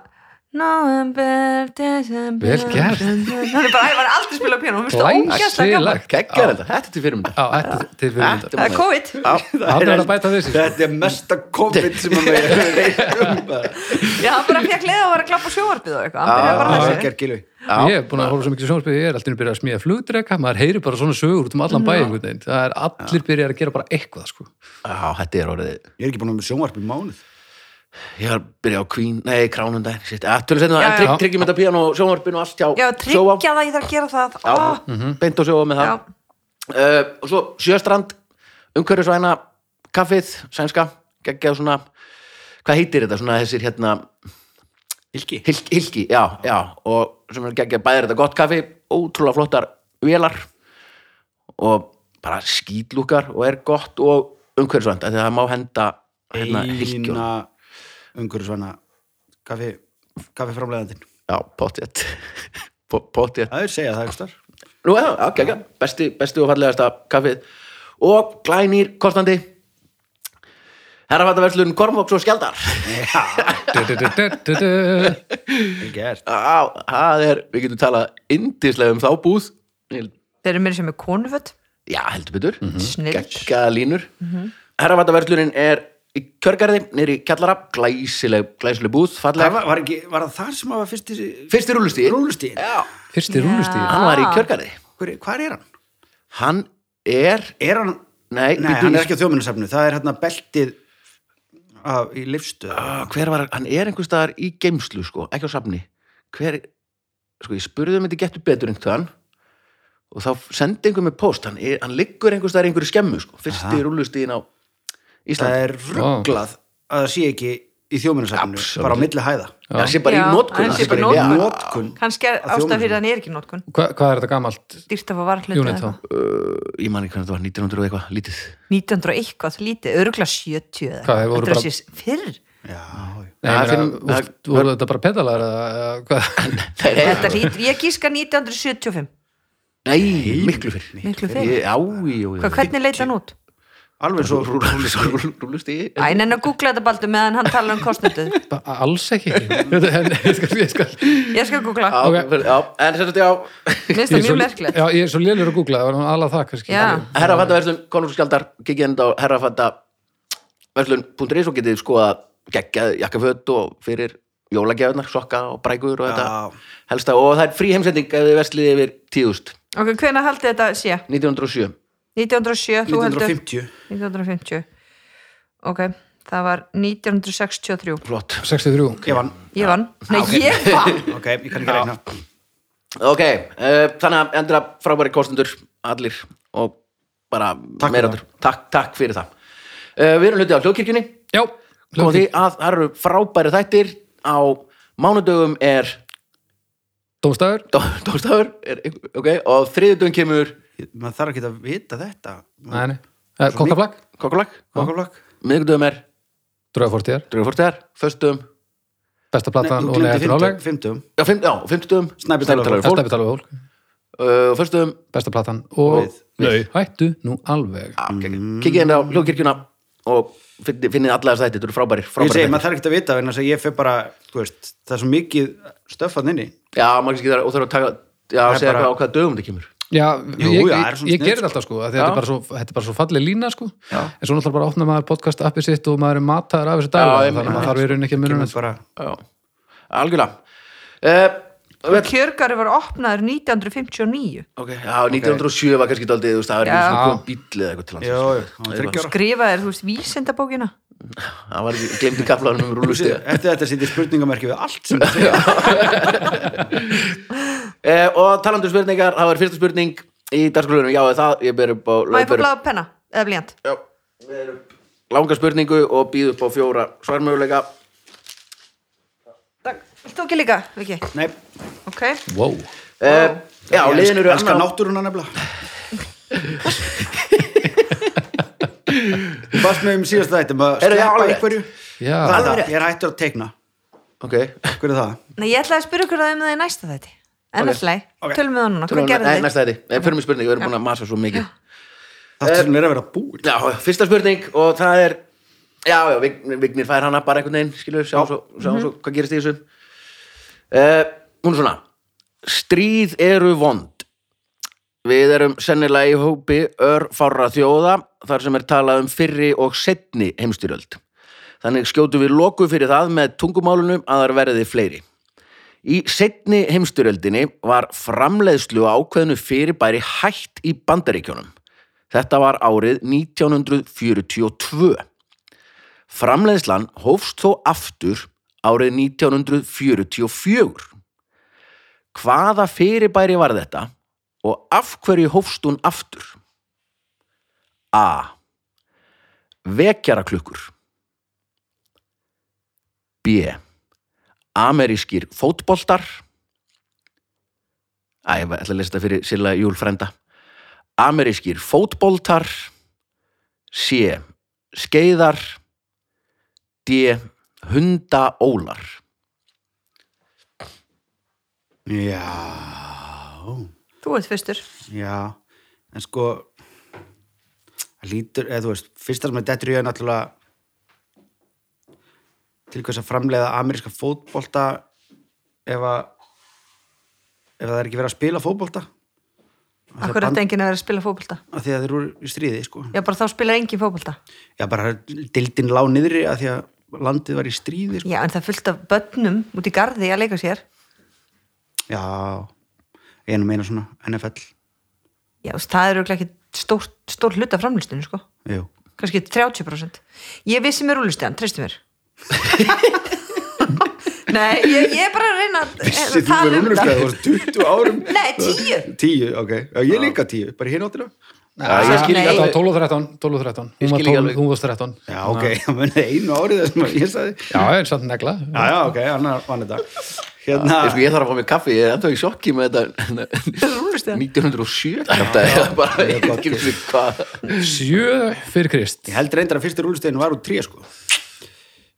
B: November, December
D: Vel gert.
B: Hann er bara, ég var aldrei að spila á piano Hún finnst það ógæslega gaman
D: glæsilegt
A: Geggar þetta, þetta er til fyrir
D: á, þetta er til fyrir
A: Þetta
B: Það er COVID
D: Þarna er að bæta við sig, sko.
C: þetta er mesta COVID sem
A: <laughs>
C: að maður hefur reynt um bara.
B: Já, hann bara fekk leið á að vera að klappa sjóvarpið og eitthvað Hann byrjaði
A: Ah.
B: bara að
C: Það er
B: þessu
C: ekki gilvi
D: ég er búin að horfa svo mikið sjónarspið ég er alltaf byrjað að smíða flugdreka maður heyri bara svona sögur út um allan bæ einhvern veginn. það er allir byrjað að gera bara eitthvað sko.
A: Já, þetta er orðið
C: Ég er ekki búin að vera með sjónvarp í mánuð
A: Ég var að byrja á Queen, nei, Kránum daginn, shit, að tölum setna,
B: Já,
A: en
B: já.
A: trygg, tryggjum þetta píano og sjónvarpinu og allt hjá
B: Já,
A: Sjóvá.
B: tryggja það, ég þarf að gera það
A: Já,
B: Ó,
A: beint og sjóa með
B: Já,
A: það. Uh, og svo Sjöstrand, umhverfisvæna, kaffið, sænska, geggjað svona, hvað heitir þetta, svona þessir hérna,
C: Ilgi
A: hilki, hilki já, já, og sem er geggjað bæðir þetta gott kaffi, ótrúlega flottar vélar og bara skýtlúkar og er gott og umhverfisvænt, af því að það má henda hérna hilki og,
C: eina ungur svona kaffi, kaffi framlegandinn
A: já, <laughs> pottjett, pottjett.
C: það er segja það ekki star
A: Nú, já, já, já, já, besti, besti og fallegasta kaffið og glænýr kostandi Herrafættaverslun Kormóks og Skjaldar
D: Du-du-du-du-du-du.
C: Vel gert.
A: Á, það er, við getum talað indislega um þá búð Ég-
B: Þeir eru meira sem er konuföt
A: Já, heldur betur mm
C: Mhm.
B: Snilld.
A: línur mm -hmm. Herrafættaverslunin er í Kjörgarði, nýri Kjallara glæsileg, glæsileg búð,
C: Það
A: falleg
C: var, var, ekki, var það þar sem að var fyrst í
A: Fyrsti rúlustíð,
C: rúlustíðin?
A: já,
D: Fyrsti rúlustíð
A: hann var
C: Ah.
A: í Kjörgarði
C: Hver, hvar er hann?
A: Hann er,
C: Er hann?
A: nei,
C: Nei, hann er ekki á þjóminnarsafnu. Það er hérna beltið af, í lifstu.
A: Ah, hver var, hann er einhvers staðar í geimslu sko, ekki á safni hver, sko ég spurði um þetta getur betur einhvern og þá sendi einhver með post hann, er, hann liggur einhvers staðar í einhverju skemmu sko, fyrsti rúlustíðin á
C: Það
A: Íslandi
C: er rugglað að það sé ekki í þjóminnarsafnu.
A: Ah. Absolutt.
C: Bara á milli hæða.
A: það sé bara
B: Já,
A: í notkun
B: hann
A: það
B: sé bara í
A: í-
B: notkun.
A: Já,
C: Notkun.
B: kannski er
C: Að
B: ástæð
C: þjónustu.
B: fyrir að hann er ekki í notkun
D: Hva, hvað er þetta gamalt
B: dýrt að fá varhluti
D: unit þá?
A: ég man ekki hvernig það var 1900 og eitthvað, lítið
B: 1900 og eitthvað, lítið, örgulega 70 eða
D: Hvað, þeir voru
B: Þetta er
D: bara-
B: sér fyrr
C: Já,
A: Það
D: Nei, ég meina,
A: finnum-
D: úff, voru þetta bara pedalar eða eða hvað?
A: Nei,
B: Þetta hlýtur, ég gíska 1975
A: nei, miklu fyrr
B: Miklu fyrr.
A: Ég- Já, já, já
B: Hvað, hvernig leit hann út?
C: alveg svo
A: Rúlustíði
B: Æ, en að googla þetta baldur meðan hann tala um kostnöndið
D: Ba- Alls
B: <laughs>
D: ekki En ég skal, ég skal
B: Ég skal googla,
A: Já, já, en sem þetta já
B: minnst
D: Ég er
B: það
D: svo-
B: mjög merkilegt
D: Já, ég er svo lélur að googla, það var nú alveg það kannski
B: Já.
A: Herrafattaverslun, konungsskjaldar, kikið enda á herrafattaverslun.is og getið skoða geggjað jakkaföt og fyrir jólagjafnar, sokka og brækur og
C: Já.
A: þetta helsta og það er frí heimsending ef þið versliði yfir 10.000
B: Ok, hvenær haldið þetta sé?
A: 1907
B: 1907, þú heldur
C: 1950.
B: 1950 Ok, það var 1963
A: Flott
D: 63
C: Ég vann.
B: Ég vann, nei ég vann
C: Ok, ég kann ekki reyna.
A: Ok, uh, þannig að endur að frábæri kostendur allir og bara
C: Takk
A: meira
C: fyrir
A: allir takk, takk fyrir það uh, Við erum hluti á hljóðkirkjunni
D: Já,
A: og því að það eru frábæri þættir á mánudögum er
D: Dómstæður
A: Dómstafur, ok, og þriðjudögum kemur
C: Maður þarf ekki að vita þetta.
D: Nei, nei, Eh, kokkaflag
A: Kokkulag,
C: Kokkaflokk.
A: miðgudögum er
D: Dröðfortíðar,
A: Drögurfortæðar, föstudögum
D: besta platan og neða eftir náleg
C: Fymtum.
A: Já, fimm- já, fimmtudögum um
C: Snæbjörn um Snæbjörn
A: fólk
D: Þetta betal við fólk,
A: uh, Föstudögum,
D: besta platan og
C: Við-
D: Nei, hættu nú alveg
A: já, mm. kikið inn á hljóðkirkjuna og finni- finnið alla þess þætti, þetta eru frábærir
C: Ég segi,
A: frábærir
C: maður
A: þættir
C: þarf ekki að vita, en þess að ég fer bara, þú veist, það er svo mikið stöffan inni.
A: Já, maður kannski það og þarf að taka Já,
C: Það er
A: segja
C: bara-
A: hvað á hvaða dögum þetta kemur
D: Já,
C: Jú,
D: ég,
C: já,
D: ég,
C: er svona snill,
D: ég gerir
C: sko.
D: þetta alltaf sko, af því að þetta
A: Já.
D: er bara svo, þetta er bara svo falleg lína sko, en svo náttúrulega bara opna maður podcastið appið sitt og maður er mataður af þessu dag
A: ég
D: þannig að
A: meina,
D: maður þarf í rauninni ekki að um munum
C: Kemur bara,
A: Já, algjörlega uh,
B: Kjörgari var opnaður 1959
A: Ok, já, 1907 var kannski daldið, þú veist, það var
B: Já.
A: ekki svona kom bíll eða eitthvað til
C: já, já,
A: hans
C: hann þryggja ára.
B: Grifaðir, þú veist, vísindabókina
A: Það var ekki, glemdi kaflanum um rúlustiga
C: <laughs> Eftir þetta sýttir spurningamerki við allt sem það segja.
A: uh, Og talandur spurningar, það var fyrsta spurning í dagskrúlunum, já, eða það, ég ber upp á
B: Má ég
A: ber
B: fá
A: upp-
B: bláða penna, eða blíjant
A: Já, við erum langa spurningu og býðum upp á fjóra svarmöguleika
B: Takk, vilt þú ekki líka, Viki?
C: Nei,
B: Ok,
D: wow.
A: uh, Já,
C: ég
A: liðin eru
C: elska
A: annað-
C: náttúruna nefnilega. Þú Varst með um síðast þetta, maður
A: Eru þið
C: sleppa
A: alveg?
C: einhverju.
D: Já,
C: Það er það,
A: rétt.
C: ég er hættur að teikna.
A: Ok,
C: Hver er það?
B: nei, ég ætlaði að spyrja ykkur það um það í næsta þetta En
A: Ok.
B: alltaf, okay.
C: Ok.
B: tölum við það núna,
A: Tölum
B: hvað
A: við-
B: gerði
A: nei,
B: þið?
A: Næsta þetta, nei, fyrir mig spurning, við erum búin að masa svo mikið
C: Það sem er að vera búin.
A: Já, fyrsta spurning og það er Já, já, Vig- Vignir fær hana bara einhvern veginn skilur, sjáum svo, sjáum svo hvað gerist í þessu uh, Hún er svona Stríð eru vond Við erum sennilega í hópi örfárra þjóða þar sem er talað um fyrri og setni heimstyrjöld. Þannig skjótu við loku fyrir það með tungumálunum að þar verði fleiri. Í setni heimstyrjöldinni var framleiðslu á ákveðinu fyrirbæri hætt í bandaríkjónum. Þetta var árið 1942. Framleiðslan hófst þó aftur árið 1944. Hvaða fyrirbæri var þetta og af hverju hófst hún aftur? A. Vekjaraklukkur B amerískir fótboltar Æ, ég ætla að lesa þetta fyrir Silla Júl frænda Amerískir fótboltar C. Skeiðar D. Hundaólar
C: Já,
B: Þú ert fyrstur
C: já, en sko, það lítur, eða þú veist, fyrsta sem er dettur í að náttúrulega til hvers að framleiða ameríska fótbolta ef að ef það er ekki verið að spila fótbolta Af því að
B: Akkur
C: band-
B: ætti enginn að vera að spila fótbolta
C: af því að þeir eru í stríði sko.
B: Já, bara þá spilar enginn fótbolta
C: já bara dildin lá niðri af því að landið var í stríði sko.
B: Já, en það er fullt af börnum út í garði að leika sér
C: já, einu meina svona NFL,
B: Já, þú veist, það er auðvitað ekki stór, stór hluta framlýstinu, sko
C: jú
B: kannski 30% ég vissi mér úlustegan, treystu
C: <laughs>
B: mér Nei, ég, ég er bara að reyna að
C: Vissi
B: að
C: þú
B: tala
C: verið
B: um
C: umlust að
B: það.
C: það var
B: <laughs>
C: 20 árum
B: Nei, 10
C: Tíu, ok, já, ég líka tíu, bara í hinn áttina
A: Já, ég skil ekki
D: Þetta var
A: alveg.
D: 12 og 13, 12 og
A: Ég
D: 13. Hún var
A: skil ekki
D: 12,
A: alveg.
D: hún var 13.
C: Já, <laughs> ok, það munið einu árið það sem ég sagði
D: Já, en samt negla.
C: Já, já, ok, annar vann þetta Hérna,
A: Ég, sko, ég þarf að fá mér kaffi, ég er ennþá í sjokki með þetta
B: rúllustigann.
A: 1907 þetta er bara,
C: Ég er
A: ég veit ekki
C: gott.
A: fyrir hvað
D: Sjö fyrir Krist.
C: ég held reyndar að fyrsti rúlustegin var úr tré, sko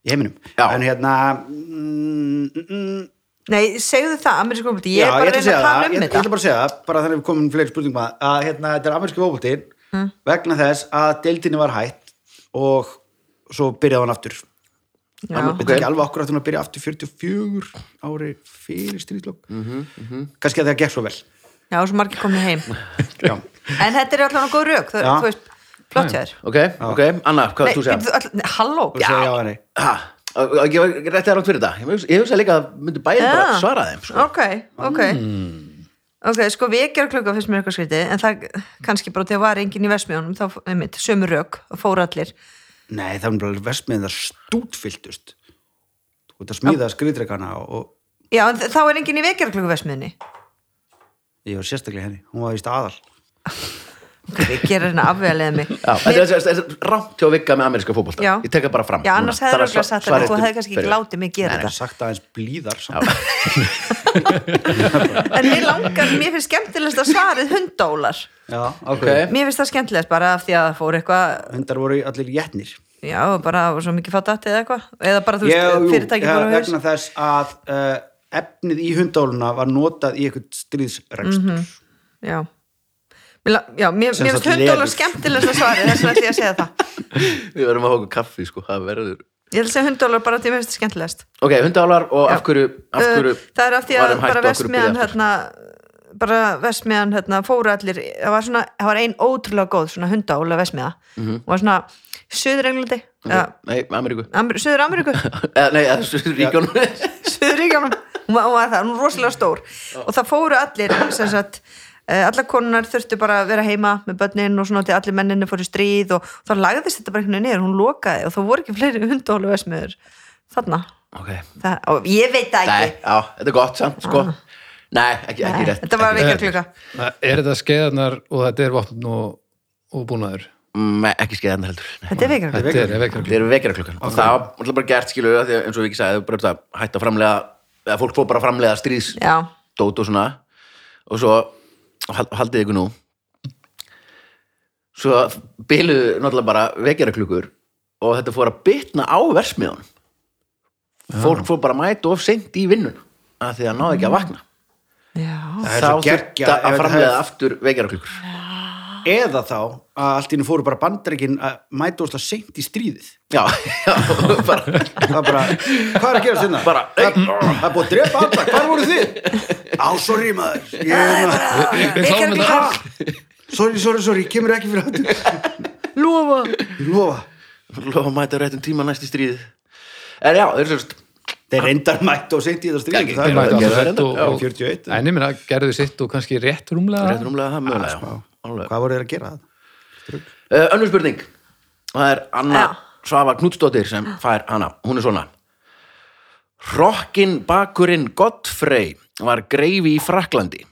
C: Í heiminum
A: Já.
C: En hérna mm, mm, mm,
B: Nei, segðu það, amerísku fótbolti Ég
C: já,
B: er bara að reyna
C: segja
B: að tala um
C: ég, ég
B: þetta
C: ætla bara að segja það, bara þannig að við komum fleiri spurningum að, að hérna, þetta er amerski fótbolti
B: Mm.
C: vegna þess að deildinni var hætt og svo byrjaði hann aftur
B: Já.
C: Ég veit ekki alveg okkur að hún að byrja aftur 44 ári fyrir stríðlokk kannski að það gekk svo vel
B: Já, svo margir komið heim
C: já,
B: En þetta er allavega góð rauk, það,
C: Já.
B: þú veist Flott hjá þér
A: ok, ok, Anna, hvað
B: Nei,
A: þú segja?
B: byrju, all, nei, halló,
C: þú
B: já,
C: segir já og nei
A: Ha, ég var ekki rétti rátt fyrir þetta Ég hugsa- ég hugsa líka að myndi bæði bara
B: Já.
A: svara þeim sko.
B: ok, ok
C: Mm.
B: ok, sko vekjar klukka finnst mér eitthvað skrítið en það kannski bara þegar var enginn í versmiðunum þá, einmitt, sömu rauk, fóru allir
C: nei, það er bara vestmiðin það stútfylltust þú ert að smíða skriðdreikana og, og
B: já, en þ- þá er enginn í vekjar klukka versmiðunni
C: ég var sérstaklega henni, hún var í staðal
B: ok, við gerum hérna afvegalega
C: <laughs>
B: mig
A: Já, þetta er- þetta er rámt hjá að vikka með ameríska fótbolta
B: Já.
A: Ég tek það bara fram
B: já, annars
A: núna.
B: hefur
A: Þarf að
B: örugglega
A: sva-
B: sagt þetta
A: svara
B: þú
A: eftir-
B: hefði kannski
A: fyrir-
B: ekki látið mig gera
C: það er
B: þetta
C: sagt aðeins blíðar samt.
B: en mér langar, mér finnst skemmtilegast að svarið hundólar
C: já, ok,
A: Ok.
B: mér finnst það skemmtilegast bara af því að það fór eitthvað
C: hundar voru allir jætnir
B: já, bara það var svo mikið fátt eða eitthvað eða bara þú
C: Já,
B: veist,
C: jú,
B: fyrirtæki
C: ja,
B: fór á haus
C: vegna þess að uh, efnið í hundáluna var notað í eitthvað stríðsrekstur
B: já Mér la- já, mér,
C: Sem
B: mér
C: sagt
B: finnst hundólar
C: leður.
B: skemmtilegast að svari þess vegna ætti ég að segja það
A: Við verðum að hóka kaffi, sko, það verður
B: ég ætla að segja hundólar bara af því að mér finnst það skemmtilegast
A: Ok, hundaálar og af hverju, af hverju
B: Uh, það er af því
A: var
B: að
A: þeim hætt og
B: bara
A: af hverju
B: vestmiðan
A: byrjaði aftur?
B: hérna, bara vestmiðan hérna, fóru allir, það var svona það var ein ótrúlega góð svona hundóla vestmiða mm
A: Mhm.
B: -hmm. var svona Suður-Englandi okay.
A: Nei, Ameríku <laughs>
B: Suður-Ameríku
A: Eh, Nei, það er ríkjónum
B: Suðuríkjánum hún var, hún var það, hún var rosalega stór og það fóru allir sem sagt eh, allar konunar þurftu bara að vera heima með börnin og svona til allir menninni fóru í stríð og þá lagðist þetta bara einhvern veginn niður, hún lokaði og þá voru ekki fleiri hundahólu vesmiður þarna,
A: Ok,
B: það, og ég veit það
A: nei,
B: ekki
A: já, þetta er gott samt, sko Nei, ekki, ekki
B: Ah. Nei,
A: rétt
B: þetta var
A: ekki
B: ekki
A: rétt.
B: klukka
D: Er þetta skeiðarnar og þetta er vopn og, og búnaður?
A: Mm, Nei, ekki skeiðan heldur Nei.
B: þetta er veikar klukka
D: Þetta er vekjarklokk.
A: Þeir eru vekjara klukkan og það var náttúrulega bara gert skilu því að eins og við ekki sagði, þau bara þetta, hætta að framlega eða fólk fór bara að framlega stríðs
B: já,
A: dót og svona og svo hal- haldið ykkur nú svo byluðu náttúrulega bara vekjara klukkur og þetta fór að bitna á versmiðunum fólk fór bara að mæta of seint í vinnun að því að náði ekki að vakna
B: já,
C: Það er
A: þá
C: svo
A: þurfti
C: geggjað ef
A: að
C: þetta
A: framlega
C: hefði-
A: aftur vekjara klukkur
C: eða þá að allt í hennu fóru bara bandaríkin að mæta ósla seint í stríðið
A: já, <laughs> já, bara
C: það er bara, hvað er að gera sinna?
A: Bara,
C: það er það er búið að drepa alla, hvað voru þið? á, sorry maður ég er hérna,
D: við
B: veikar
D: klárum
B: klukka
C: sorry, sorry, sorry, kemur ekki fyrir hattu
B: lofa
C: ég lofa,
A: lofa að mæta á réttum tíma næst í stríð en já, þeir eru sérst
C: þeir reyndar mæta og seint í þetta
A: Já,
C: stríðið
A: þeir
C: það er
A: mættu
C: bara
A: á-
C: að
A: gerðu
C: 41.
A: þetta, já,
D: Gerðu sitt og, og, en ég meina, gerðu sitt og kannski rétt rúmlega
A: rétt rúmlega það mögulega já, alveg.
C: hvað voru þeir að gera það?
A: Uh, önnur spurning það er Anna
B: Já.
A: Svava Knudsdóttir sem fær hana, hún er svona Rokkin bakurinn Gottfrey var greifi í Fraklandi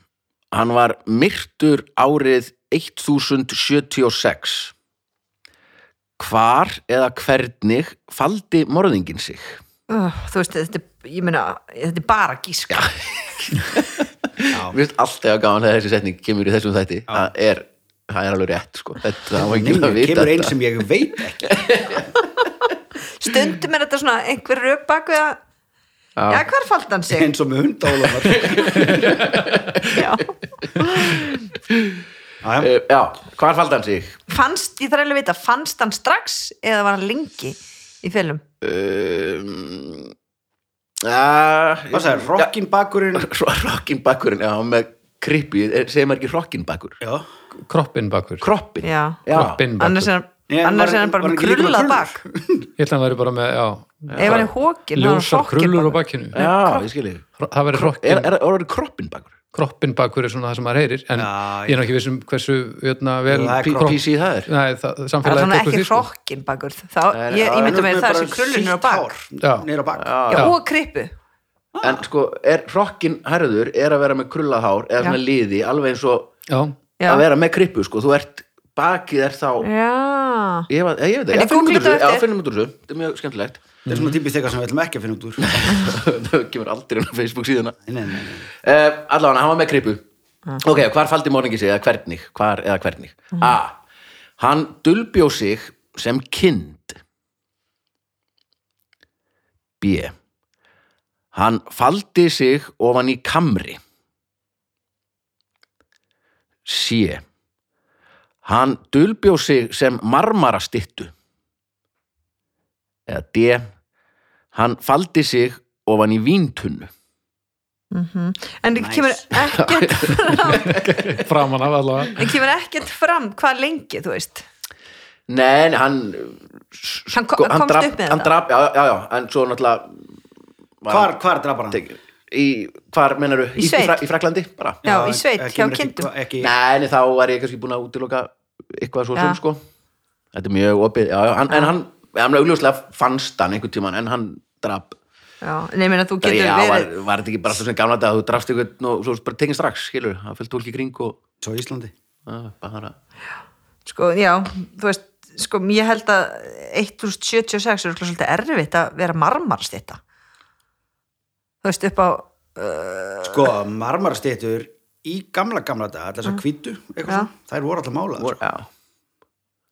A: hann var myrtur árið 1076 hvar eða hvernig faldi morðingin sig
B: Ugh, þú veist, þetta er, ég meina þetta er bara gíska
A: Mér finnst alltaf gaman þegar þessi setning kemur í þessum þætti það er, það er alveg rétt sko. þetta, það var
C: Nei,
A: enginn að
C: nei,
A: vita
C: kemur einn
A: þetta.
C: sem ég veit ekki
B: stundum er þetta svona einhver rök bak við að já, hvar falt hann sig
C: eins og með hundálumar
B: já
A: Uh, já, hvar faldi hann sig?
B: fannst, ég þarf eiginlega að vita, fannst hann strax eða var hann lengi í fylgum
A: um, að,
C: Hvað sagði, rockin bakurinn
A: <laughs> Rockin bakkurinn, já, með krippi segir maður ekki rockin bakkur
C: Já,
D: kroppin bakur
A: Kroppin
B: Já.
D: kroppin
B: annars er
D: bakur,
C: Nei, en
B: hann annars
C: var-
B: er hann bara
C: var
B: með
C: hann ekki líka með
B: krullað
C: krullur?
B: bak
D: ég ætla að vera bara með, já
B: ef hann er hókin, hann er
D: ljósar
B: hrokkinn
D: krullur á
B: bak.
D: bakinu
A: Já, ég skilji
D: það
A: Er,
D: verður hrokkin,
A: er, er orðið kroppin bakkur?
D: kroppin bakur er svona það sem maður heyrir en
C: Já,
D: ég er nú ekki vissum hversu jötna, vel,
C: Það er
A: P-
C: kropp.
A: PC það er
D: Nei, það,
B: Það er
D: samfélagið
B: svona
D: tekur
B: ekki
D: því, sko.
B: hrokkin bakur þá,
A: Nei,
B: ég,
A: já,
B: ég myndi
C: Hann
B: með
C: bara
B: það sem krullin er á
C: sítt
B: bak
C: hár
D: Já.
C: Niður á bak
B: Já,
D: Já.
B: og krippu
A: En sko, er rockin herður er að vera með krullað hár eða
B: Já.
A: svona liði, alveg eins og
D: Já,
B: Já.
A: að vera með krippu, sko, þú ert bakið er þá,
B: Já,
A: ég, var- ég veit
B: En
A: ekki já, finnum út
B: ég googla
A: úr þessu,
B: þetta
A: já,
B: eftir.
A: finnum út úr þessu þetta er mjög skemmtilegt <laughs>
C: Það er svona típist eitthvað sem við ætlum ekki að finna út úr Nei,
A: það kemur aldrei inn á Facebook síðuna uh,
C: nei, nei, nei.
A: allavega, hann var með krippu ok, hvar faldi morningi sig, eða hvernig hvar eða hvernig A. Hann dulbjó sig sem kind B. Hann faldi sig ofan í kamri C. Hann dulbjó sig sem marmarastittu eða D. Hann faldi sig ofan í víntunnu
B: en nice.
C: Nice.
B: kemur ekkert
D: framan af allavega
B: en kemur ekkert fram hvað lengi þú veist
A: Nei, nei, hann
B: Hann kom- komst
A: drap,
B: upp
A: Sko,
B: með
A: hann
B: þetta?
A: drap, já, já, já, en svo náttúrulega var
C: Hvar, hvar drapa hann?
A: hann- í, hvar meinaru,
B: Í sveit.
A: Fra, í Fraklandi, bara
B: Já, í sveit,
C: ekki-
B: hjá
C: ekki-
B: kindum
C: ekki-
A: Nei, en þá var ég kannski búin að útiloka eitthvað svo
B: Já.
A: sem, sko Þetta er mjög opið, já, já, hann, en hann hann augljóslega fannst hann einhvern tímann en hann drap,
B: Já, en ég meina þú getur
A: já, var,
B: verið
A: var þetta ekki bara alltaf sem gamla þetta að þú drafst einhvern og svo bara tekinn strax, skilur, það fylgd fólki í kring og
C: Svo í Íslandi
A: að, bara,
B: sko, já, þú veist sko, ég held að 1076 er örugglega svolítið erfitt að vera marmarstýtta þú veist upp á
C: Sko, marmarastýttur í gamla gamla dag, allar þess að kvítu eitthvað
B: Mm. Já.
C: svona, þær voru allar málaðar
A: vor, já,
C: sko.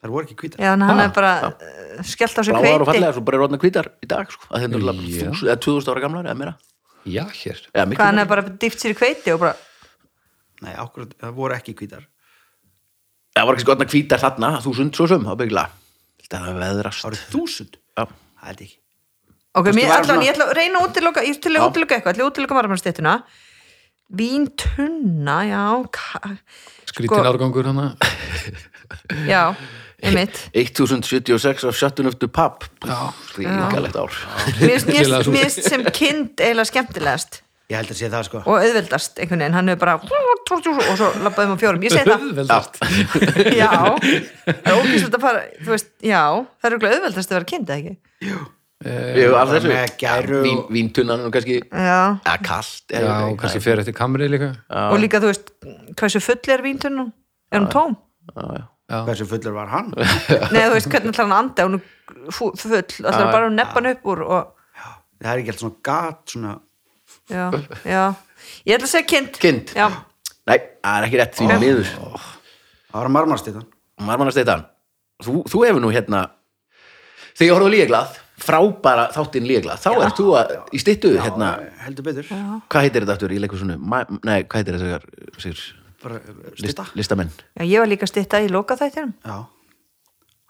C: þær voru ekki kvítar
B: já, en hann
D: Ha,
B: er bara uh, skellt á sig
A: bláar og
B: hveiti
A: fallega, svo bara er rótna hvítar í dag, sko, að þetta er alveg
D: Já.
A: 1000 eða 2000 ára gamlar, eða meira
D: Já, hér
A: Já,
B: hvað
A: miklu
B: hann er bara dýft sér í hveiti og bara
C: Nei, okkur, það voru ekki kvítar
A: Það var kannski gott að hvítar þarna, þúsund svo sem, það byggla. Þetta er veðrast.
C: Það voru þúsund,
A: Já.
C: það er ekki
B: ok,
C: Kannski
B: mér,
C: var hann
B: allan,
C: svona-
B: ég ætla að reyna að útiloka ég ætla
A: Já.
B: að útiloka eitthvað, ég ætla að útiloka marmarstýttuna víntunna, já ka, sko,
D: skrítin árgangur hana
B: já, einmitt
A: <laughs> 1076 af Shutton of the Pub. Já. Ríkalegt ár.
B: mér finnst- mér
D: Virkilega
B: finnst
D: svo.
B: mér finnst sem kind eiginlega skemmtilegast
C: Ég held að sé það sko
B: og auðveldast einhvern veginn, hann er bara og svo labbaðum á fjórum, ég segi það
D: Auðveldast.
B: já, það er ókvæmst að fara þú veist, já, það er örugglega auðveldast að vera kind, eða ekki?
A: Jú, af þessu.
C: Eh, með gæru
A: Vín,
C: og-
A: víntunnan og kannski,
B: Já,
A: eða kallt.
D: Já, og kannski fer eftir kamri líka
B: og líka þú veist hversu full er víntunum, er hún tóm?
C: hversu fullur var
B: <laughs>
C: hann
B: Nei, þú veist, hvernig ætlar hann að anda hún er fu- full, ætlar bara að neppa hann upp úr og,
C: Það er ekki alltaf svona gat svona
B: já, já ég ætla að segja kind,
A: Kind.
B: já,
A: Nei, það er ekki rétt því miður.
C: Það var marmarastýttan
B: <laughs>
A: Marmann Steitan, þú, þú hefur nú hérna, þegar ég horfðu líglað, frábæra þáttinn líglað, þá ert þú að, í styttu, hérna,
C: Heldur betur
A: hvað heitir þetta aftur í leikursunu? Nei, hvað heitir þetta, Sigur?
C: Bara uh,
A: List,
C: stýta
A: listamenn.
B: já, ég var líka að stytta í loka þættinum
C: Já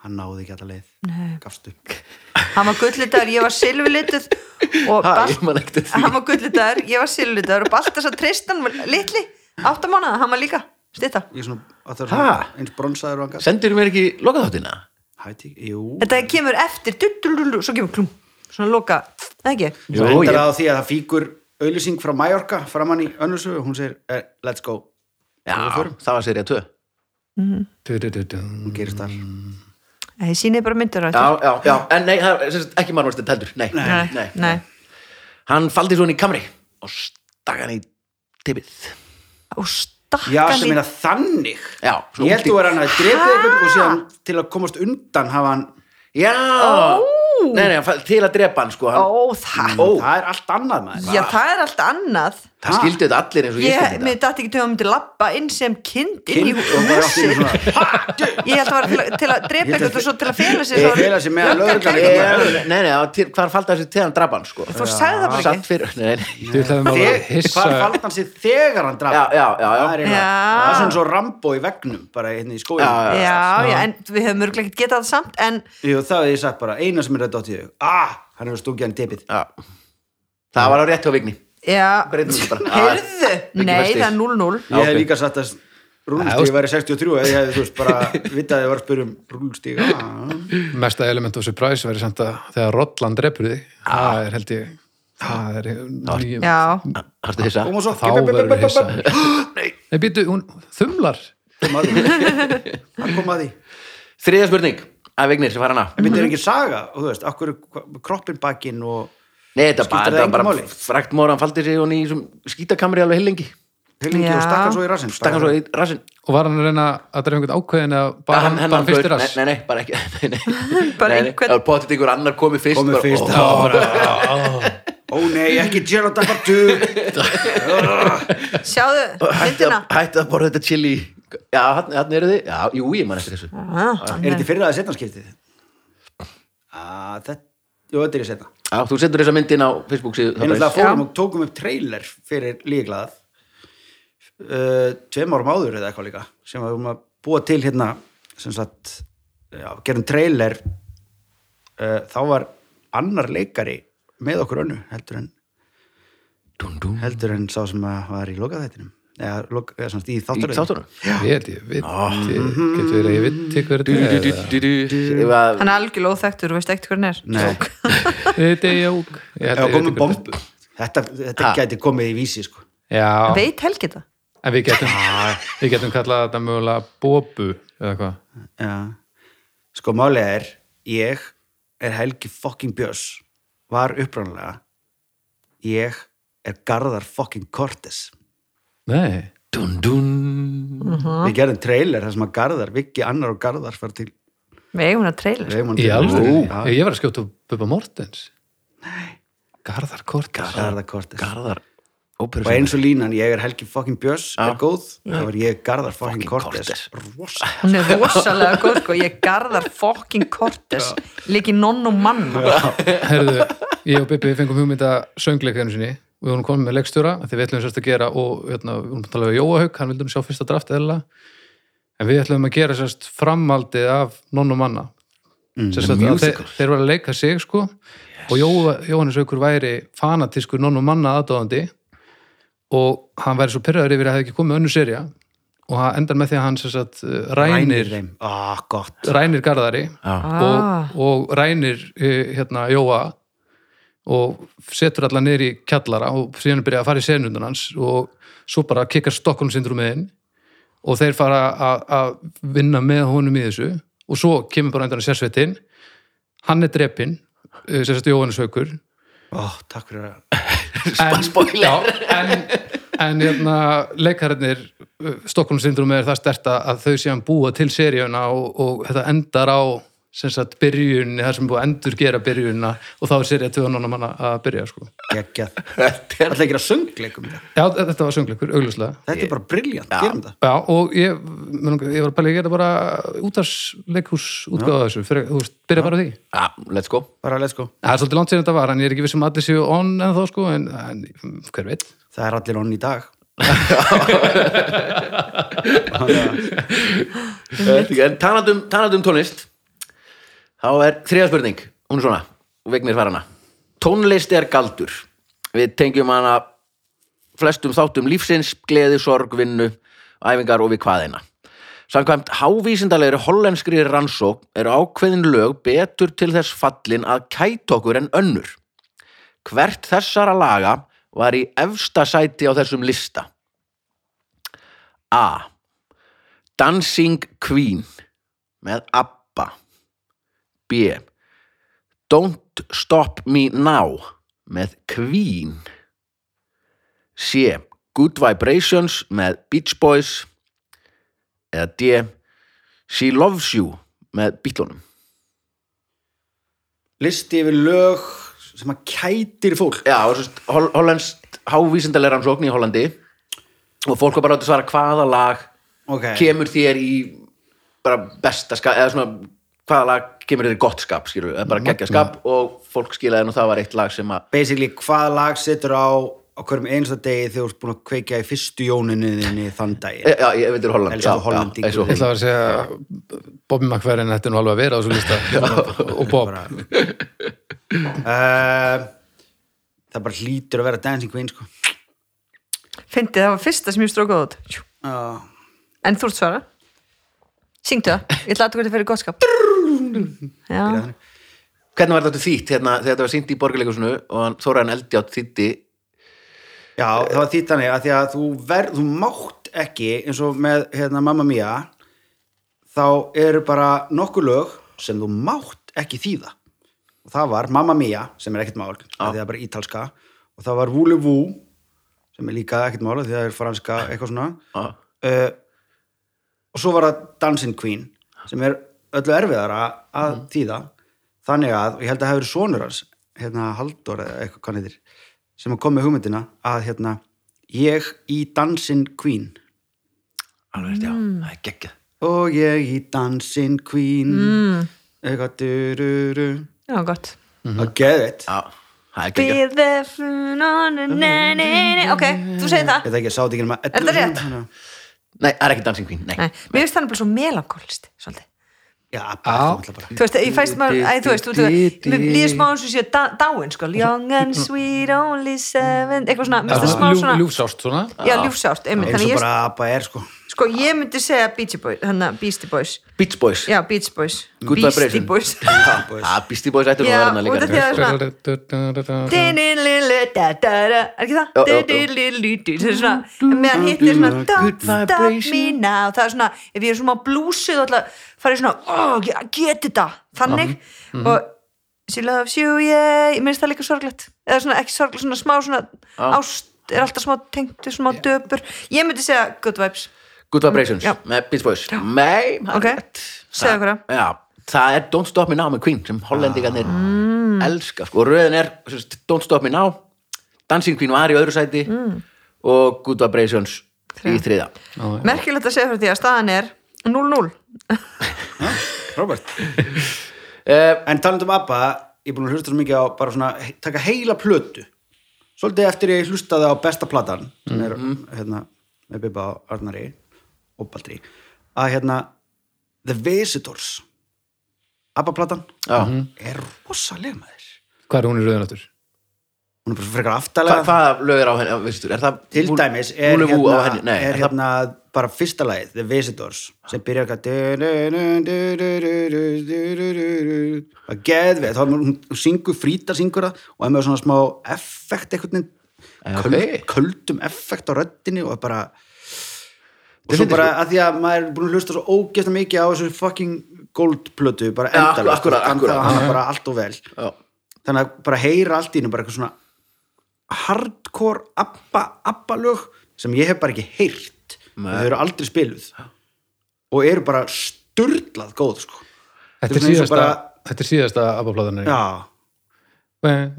C: Hann náði ekki alltaf leið Gafst upp
B: hann var gullitaður, ég var silfurlituð og
A: Ha,
B: Balt-
A: ég man ekkert eftir því.
B: hann var gullitaður, ég var silfurlituður og Baltas að Tristan var litli áttamánaða, hann var líka stitta
C: Ég er svona að það er
A: Ha?
C: svona eins bronsaður og hann gafst
A: Sendir mér ekki lokaþáttina?
C: Hætti, jú
B: þetta kemur eftir, duttululu, svo kemur klum svona loka, það ekki
A: Jú,
C: Svo reyndar
A: ég-
C: það á því að það fíkur auðlýsing frá Mallorca framann í önnursu og hún segir eh, let's go
A: Já, það var serið 2
D: Du-du-du-dum.
C: hún gerist þar
A: Mm.
B: það sýnið bara myndur á
A: Já,
B: þetta
A: já, já, en nei, það er sem sagt ekki marmarstend heldur nei,
C: Nei.
B: nei, nei,
A: Hann faldi svo hann í kamri og stakk hann í tippið
B: og
C: Já,
B: stakkan
C: sem meina þannig
A: Já, svo
C: Ég held
A: úti-
C: þú er hann að drepa eitthvað og síðan til að komast undan hafa hann
A: Já, nei, nei, hann faldi til að drepa hann sko hann,
B: ó, það
A: Ó.
C: Það er allt annað maður
B: já, það er allt annað
A: Það skildi þetta allir eins og ég
B: ég,
A: skildi
B: mér
A: þetta
B: dætti ekki til að hann myndi labba inn sem kind inn í
C: Kyn- og bara allt í einu
B: húsið
C: svona, ha, djú.
B: ég held að það var til að- til að drepa
C: Ég held að-
B: eitthvað og svo til að fela sig
C: Ég
B: svo-
C: fela sig meðan lögreglan
A: Ég-
C: "Eh, er-
A: Nei, nei, það var til, hvar faldi hann sér til hann drepa hann sko
B: þú sagði það bara
A: Satt
B: ekki
A: fyrir, nei, nei
D: Þú ætlaðum að vera
C: Þeg-
D: hissa
C: Hvar fald hann sér þegar hann draf
A: Já, já, já, já.
C: Það er, eitthvað-
B: Já.
C: það er svona svo Rambo í vegnum bara hérna í skóin
A: Já,
B: já, já, en við höfum mörgulegt getað það samt en
C: Jú, það er ég sagt bara eina sem er að þetta átt í þau ah, hann hefur stungið hann í tepið
A: Já. Það var á rétt hjá Vigni.
B: Já,
A: Breytum þessu bara. Ah,
B: heyrðu
A: Vigni
B: Nei,
A: fær stig.
B: það er 0-0
C: ég hef
A: ok.
C: líka satt að rúlstíg væri 63 eða ég hefði þú veist bara
A: <laughs>
C: vitað að ég var að spyrja um rúlstíg ah.
D: mesta element of surprise verið samt að þegar Rottland drepur þig það er held ég það er nýjum
B: Já,
A: Harstu þessa?
C: og maður svo
D: þá verður hissa
C: <gasps>
D: nei, býtu, hún þumlar
C: kom að því hann kom að því
A: Þriðja spurning. Að Vignir sem fara hana.
C: en þetta er ekki saga og þú veist, akkur kroppin bakinn og
A: Nei, þetta
C: Skiptir
A: bara,
C: það
A: þetta
C: engu
A: bara
C: máli?
A: fraktmóra, hann faldi sig og hann í þessum skítakamri alveg heilengi.
C: heilingi
B: Já.
C: og stakkan svo í rassinn
A: Stakkan svo í rassin.
D: og var hann að reyna að drefa einhvern ákveðin eða bara, hann, bara fyrst í rass
A: Nei, nei, nei, bara ekki. <laughs> Nei, nei.
B: Bara
A: Nei, nei,
B: einhvern-
A: Það var potið einhver annar komið fyrst.
C: komið
A: bara,
C: fyrst
A: ó,
C: á ó nei, ekki Gerald Dabartu
B: sjáðu
A: Hætti
B: myndina
A: að, hætti að borða þetta chili. Já, hann, hann eru þið. Já, jú, ég man eftir þessu.
B: Ah,
C: er þetta í fyrra að setna skiptið? að þetta jú, þetta er í setna
A: Já, þú sendur þessa myndin á Facebook síðu.
C: við náttúrulega fórum og tókum upp trailer fyrir líklaðað uh, tveim árum áður eða eitthvað líka sem við vorum að búa til hérna sem sagt, já, gerum trailer uh, þá var annar leikari með okkur önnu heldur en
A: Dún,
C: heldur en sá sem að var í lokaþættinum eða, lok, eða svona í
A: dún. Í
C: þáttaröðinni
A: þáttunum.
D: ég held ég, við, getur verið að ég veit til hver
A: Dú, dú,
D: þetta
A: dú,
D: er
A: dú, dú. Ef að-
B: Hann er algjörlega óþekktur, þú veist ekkert hvernig er
C: Nei.
B: Jók.
D: þetta er jók ég held
C: eða
D: ég
C: komið
D: veit hver þetta
C: bombu þetta, þetta
A: Ha.
C: gæti komið í vísi sko.
D: er. já,
B: Veit Helgi það?
D: en við getum við getum kallað þetta mögulega bobu eða hvað
C: Já. sko málega er ég er Helgi fucking Björns var upprænulega ég er Garðar fucking Cortes
D: nei,
A: Dún, dún.
C: við gerðum trailer þar sem að Garðar, Viki, Annar og Garðar fara til
B: Við eigum hann að trailer
C: Raymond
D: í
C: til-
D: alveg
C: Já,
D: ég var að skjóta upp Bubba Mortens nei Garðar Kortes
C: Garðar Cortes
A: Garðar
C: og eins og línan, ég er Helgi fucking Björns er góð, þá er ég Garðar fucking,
A: Fucking
C: Cortes rosa
B: Hún er rosalega góð sko, ég garðar fucking Cortes Líki nonn og mann
D: Herðu, ég og Bibi fengum hugmynda söngleika einu sinni og við vorum komin með leikstjóra af því við ætlum sérst að gera og hérna, við vorum að tala við Jóa Haug, hann vildi nú sjá fyrsta draft eðla en við ætlum að gera sérst framaldið af nonn og manna sérst að, að þeir, þeir voru að leika sig sko og Jóa, Jóhannes Haugur væri fanatískur nonn og manna aðdóðandi og hann væri svo pyrraður yfir að það hefði ekki komið önnu serja og hann endar með því að hann sérst að rænir,
C: þeim, ah, gott
D: rænir Garðari
B: Ah.
D: og, og rænir eh, hérna Jóa og setur alla niður í kjallara og síðan byrja að fara í senundun hans og svo bara kikkar Stockholm syndromið inn og þeir fara að- að vinna með honum í þessu og svo kemur bara endan að sérsveitin hann er drepinn eh, sem sagt Jóhannes Haukur
C: oh, takk fyrir að
D: en, já, en, en hérna, leikararnir Stockholm syndrom er það sterta að þau séum búa til seríuna og, og þetta endar á sem sagt byrjunni, það sem er búið að endur gera byrjunna og þá er serið tvöðanónum hana að byrja sko.
C: gegja
A: Þetta er
C: alltaf ekki að söngleikum þetta
D: Já, þetta var söngleikur, augljóslega
C: þetta er bara briljant, gerum það
D: Já, og ég, mér langar- ég var að pæla í að gera bara útarsleikhús útgáða þessu, fyrir, þú veist, byrja bara á því
A: Já, let's go
C: bara let's go
D: Það er svolítið langt sér þetta var, en ég er ekki viss um að allir séu on en þá sko, en, en hver veit
C: það er allir onn í dag
A: Eh, En talandum, talandum um tónlist Þá er þriða spurning Hún er svona, og vegnir fara hana Tónlist er galdur Við tengjum hana flestum þáttum lífsins, gleði, sorg, vinnu æfingar og við hvaðina Samkvæmt hávísindalegri hollenskri rannsók eru ákveðin lög betur til þess fallin að kæta okkur en önnur. Hvert þessara laga var í efsta sæti á þessum lista? A. Dancing Queen með ABBA B Don't Stop Me Now með Queen C Good Vibrations með Beach Boys eða D She Loves You með Beatlunum
C: listi yfir lög sem að kætir fólk
A: Já, og svo hol Hollands hávísindalega rannsókn í Hollandi og fólk var bara átt að svara hvaða lag
C: okay.
A: kemur þér í bara besta skap eða svona hvaða lag kemur þér í gott skap skilur, eða bara geggja skap og fólk skilaði nú það var eitt lag sem að
C: basically hvað lag setur á á hverjum einsta degi þegar þú ert búin að kveikja í fyrstu jóninu þinni þann
A: e,
C: daginn
A: já, ég veit þér Holland
C: Elsku
A: já, já,
C: Hollendingur.
A: elsku
D: Ég
A: Holland.
D: ætla að vera að segja Bobby McFerrin ætti nú alveg að vera á þessu lista og Bob
C: Bara- uh, það bara hlýtur að vera Dancing Queen sko
B: Fyndið, það var fyrsta sem ég strókaði út Tjú.
C: uh,
B: En þú ert svara Syngdu það, ég ætla að þetta fyrir gottskap Já,
A: Hvernig var þetta þýtt hérna, þegar þetta var sýnt í borgarleikusinu og hann Þóraðan Eldjátt þýtti
C: já það var þýtt þannig að því að þú verð þú mátt ekki eins og með hérna, Mamma Mia þá eru bara nokkur lög sem þú mátt ekki þýða og það var Mamma Mia sem er ekkert mál af því að það er bara ítalska og það var Vúli Vú sem er líka ekkert mál af því að það er franska eitthvað svona
A: ah,
C: uh, og svo var það Dancing Queen sem er öllu erfiðara að
B: Mhm.
C: þýða þannig að, og ég held að það hefur sonur hans hérna Halldór eða eitthvað hvað hann heitir sem kom með hugmyndina að hérna ég í Dancing Queen
A: alveg rétt, já,
B: Mm.
A: það er geggjað
C: og ég í Dancing Queen mm. eitthvað dururu
B: já, gott
C: að geða þetta
A: Já, það er geggjað
B: Be there for no, no, no, no, no. Ok, þú segir það
C: Ég veit ekki, sáði ekki nema
B: Er þetta rétt?
A: Nei, það er ekki Dancing Queen, nei,
B: Nei, Mér finnst þannig bara svo melankólist svolítið.
C: Já, bara það ætla bara
B: Þú veist, ég fæst maður, æ, þú veist, þú veist, mér líður smá eins og sé da- dáin, sko, young and sweet, only seven, eitthvað svona, mér finnst það smá svona,
D: ljúfsást svona
B: já, ljúfsárt, einmitt,
C: eins
B: þannig
C: og
B: ég,
C: bara apa er sko
B: sko, ég myndi segja Beastie Boys, þannig að Beastie Boys,
A: Beach Boys
B: já, Beach Boys,
A: Good
B: Beastie
A: Vibration.
C: <laughs>
B: Boys,
C: Boys.
A: Ah, Beastie Boys ættir nú að
B: já,
A: vera hana
B: út af
A: líka
B: því að það er svona, Dinilili, da, da, da, er ekki
A: Jó,
B: það?
A: jó, jó.
B: Dinilili, di, það er svona meðan hitt er svona don't stop me now það er svona, ef ég er svona blúsið alltaf farið svona, oh, get þetta
C: Mhm,
B: þannig og she loves you, yeah, ég minnst það líka sorglegt eða svona, ekki sorglegt, svona smá svona ást, er alltaf smá tengt við smá döpur, ég myndi segja good vibes
A: Good Vibrations
B: Já.
A: með Beach Boys Nei, það er
B: Ok,
A: rétt.
B: segðu
A: Það-
B: einhverja.
A: Já, það er Don't Stop Me Now með Queen sem hollendingarnir
B: Mm.
A: elska sko. og röðin er sem sagt, Don't Stop Me Now Dancing Queen var í öðru sæti
B: Mm.
A: og Good Vibrations í þriða
B: merkilegt að segja fyrir því að staðan er 0-0
C: <laughs> Robert
A: uh,
C: En taland um ABBA, ég er búin að hlusta svo mikið á bara svona, he- taka heila plötu svolítið eftir ég hlustaði á besta platan sem er hérna með Bibba og Arnari og Baldri að hérna The Visitors ABBA platan
A: Já.
C: er rosalega maður
D: hvað er hún í rauðin áttur?
C: hún er bara frekar
A: Hva,
C: aftalega
A: Hvaða lög er á henni? Veistur, er það,
C: til
A: Vul-
C: dæmis er
A: Vule Vú
C: hérna,
A: á henni? Nei,
C: er
A: það-
C: hérna bara fyrsta lagið, The Visitors sem byrjar eitthvað að geðvið þá er hún hún syngur, frýta syngur það og er með svona smá effekt einhvern
A: Já,
C: veginn köld,
A: ok.
C: köldum effekt á röddinni og er bara og
A: Þetta
C: svo
A: finnir
C: bara að því að maður er búin að hlusta svo ógeðslega mikið á þessu fucking goldplötu bara
A: Ja,
C: endalaust,
A: akkurat,
C: þannig
A: akkurat.
C: að hann er bara allt og vel
A: Já.
C: þannig að bara heyra allt í hennu bara eitthvað svona hardcore abba, abba lög sem ég hef bara ekki heyrt
A: Nei.
C: og þau eru aldrei spiluð og eru bara sturlað góð sko.
D: Þetta
C: svona eins
D: er
C: og
D: síðasta,
C: bara-
D: þetta er síðasta abba-pláðan
C: já,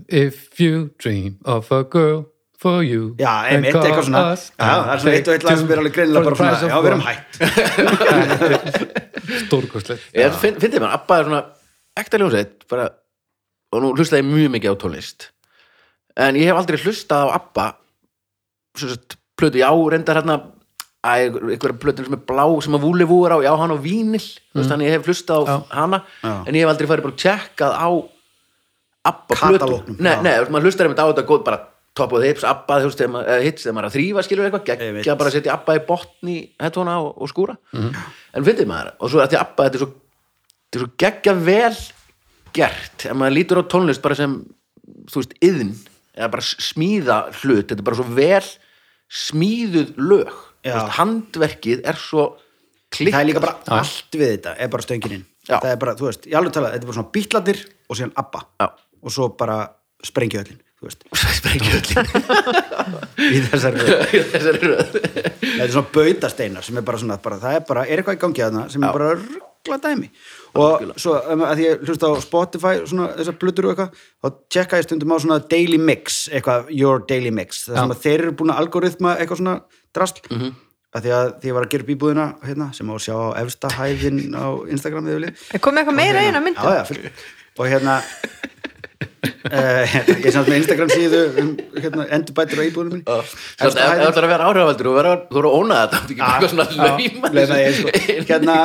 D: If you dream of a girl for you
C: já,
D: then
C: einmitt
D: call
C: eitthvað svona já,
D: us
C: það er svona eitt og eitt lag sem er alveg
D: for
C: greinilega bara
D: the price
C: svona,
D: of
C: já, við erum
D: one.
C: hætt
D: Stórkostlegt
A: Er- finn- Fyndið mér, Abba er svona ekta ljónsveit bara, og nú hlustaði ég mjög mikið á tónlist en ég hef aldrei hlustað á Abba sem sagt, plötu, já, reyndar hérna að einhverja plötu sem er blá sem að vúli vúar á, já, hann á vínil mm. veist, þannig ég hef hlustað á hana
C: Já.
A: en ég hef aldrei farið bara að tjekkað á Abba plötu
C: Katalógnum,
A: Nei,
C: já.
A: nei, þú veist, maður hlustar einmitt á þetta góð bara top of the hips, Abba, þú veist, þegar maður- eða hits þegar maður er að þrýfa, skilur eitthvað,
C: Einmitt. Mhm.
A: geggja bara að setja Abba í botni hettona og, og skúra en fyndið maður, og svo að því Abba þetta er svo þetta er svo geggja vel gert ef maður lítur á tónlist bara sem þú veist, yðn eða bara smíða hlut, þetta er bara svo vel smíðuð lög
C: Já.
A: Þú veist, handverkið er svo klikkað
C: það er
A: <laughs>
C: líka bara allt við þetta er bara stöngininn
A: Já.
C: það er bara, þú veist, ég alveg talað, þetta er bara svona bítlatir og síðan abba
A: Já.
C: og svo bara sprengja öllin þú veist,
A: sprengið
C: <laughs>
A: öllin
C: í þessari röð.
A: í þessari röð
C: þetta er svona bautasteinar sem er bara svona bara, það er bara, er eitthvað í gangi að það sem er bara ruggla dæmi og svo um, að því ég hlusta á Spotify svona þessar blutur og eitthvað þá tjekka ég stundum á svona daily mix eitthvað, your daily mix það sem að þeir eru búin að algoritma eitthvað svona drasl mm -hmm. að því að því ég var að gera upp íbúðina hérna, sem á að sjá á efsta hæðin á Instagram eða vilja
B: Er komið eitthvað meira eina
C: hérna- já, <laughs>
B: myndum?
C: já, fyrir. og hérna uh, ég er samt með Instagram síðu um hérna, endurbætur á íbúðunum minni
A: Samt,
C: Efsta
A: ef ef
C: hæðin-
A: þú ætlar að vera áhrifavaldur og vera, þú verður að óna þetta þú getur ekki svona lauma
C: Leina Ah, ég,
A: <laughs>
C: sko. hérna,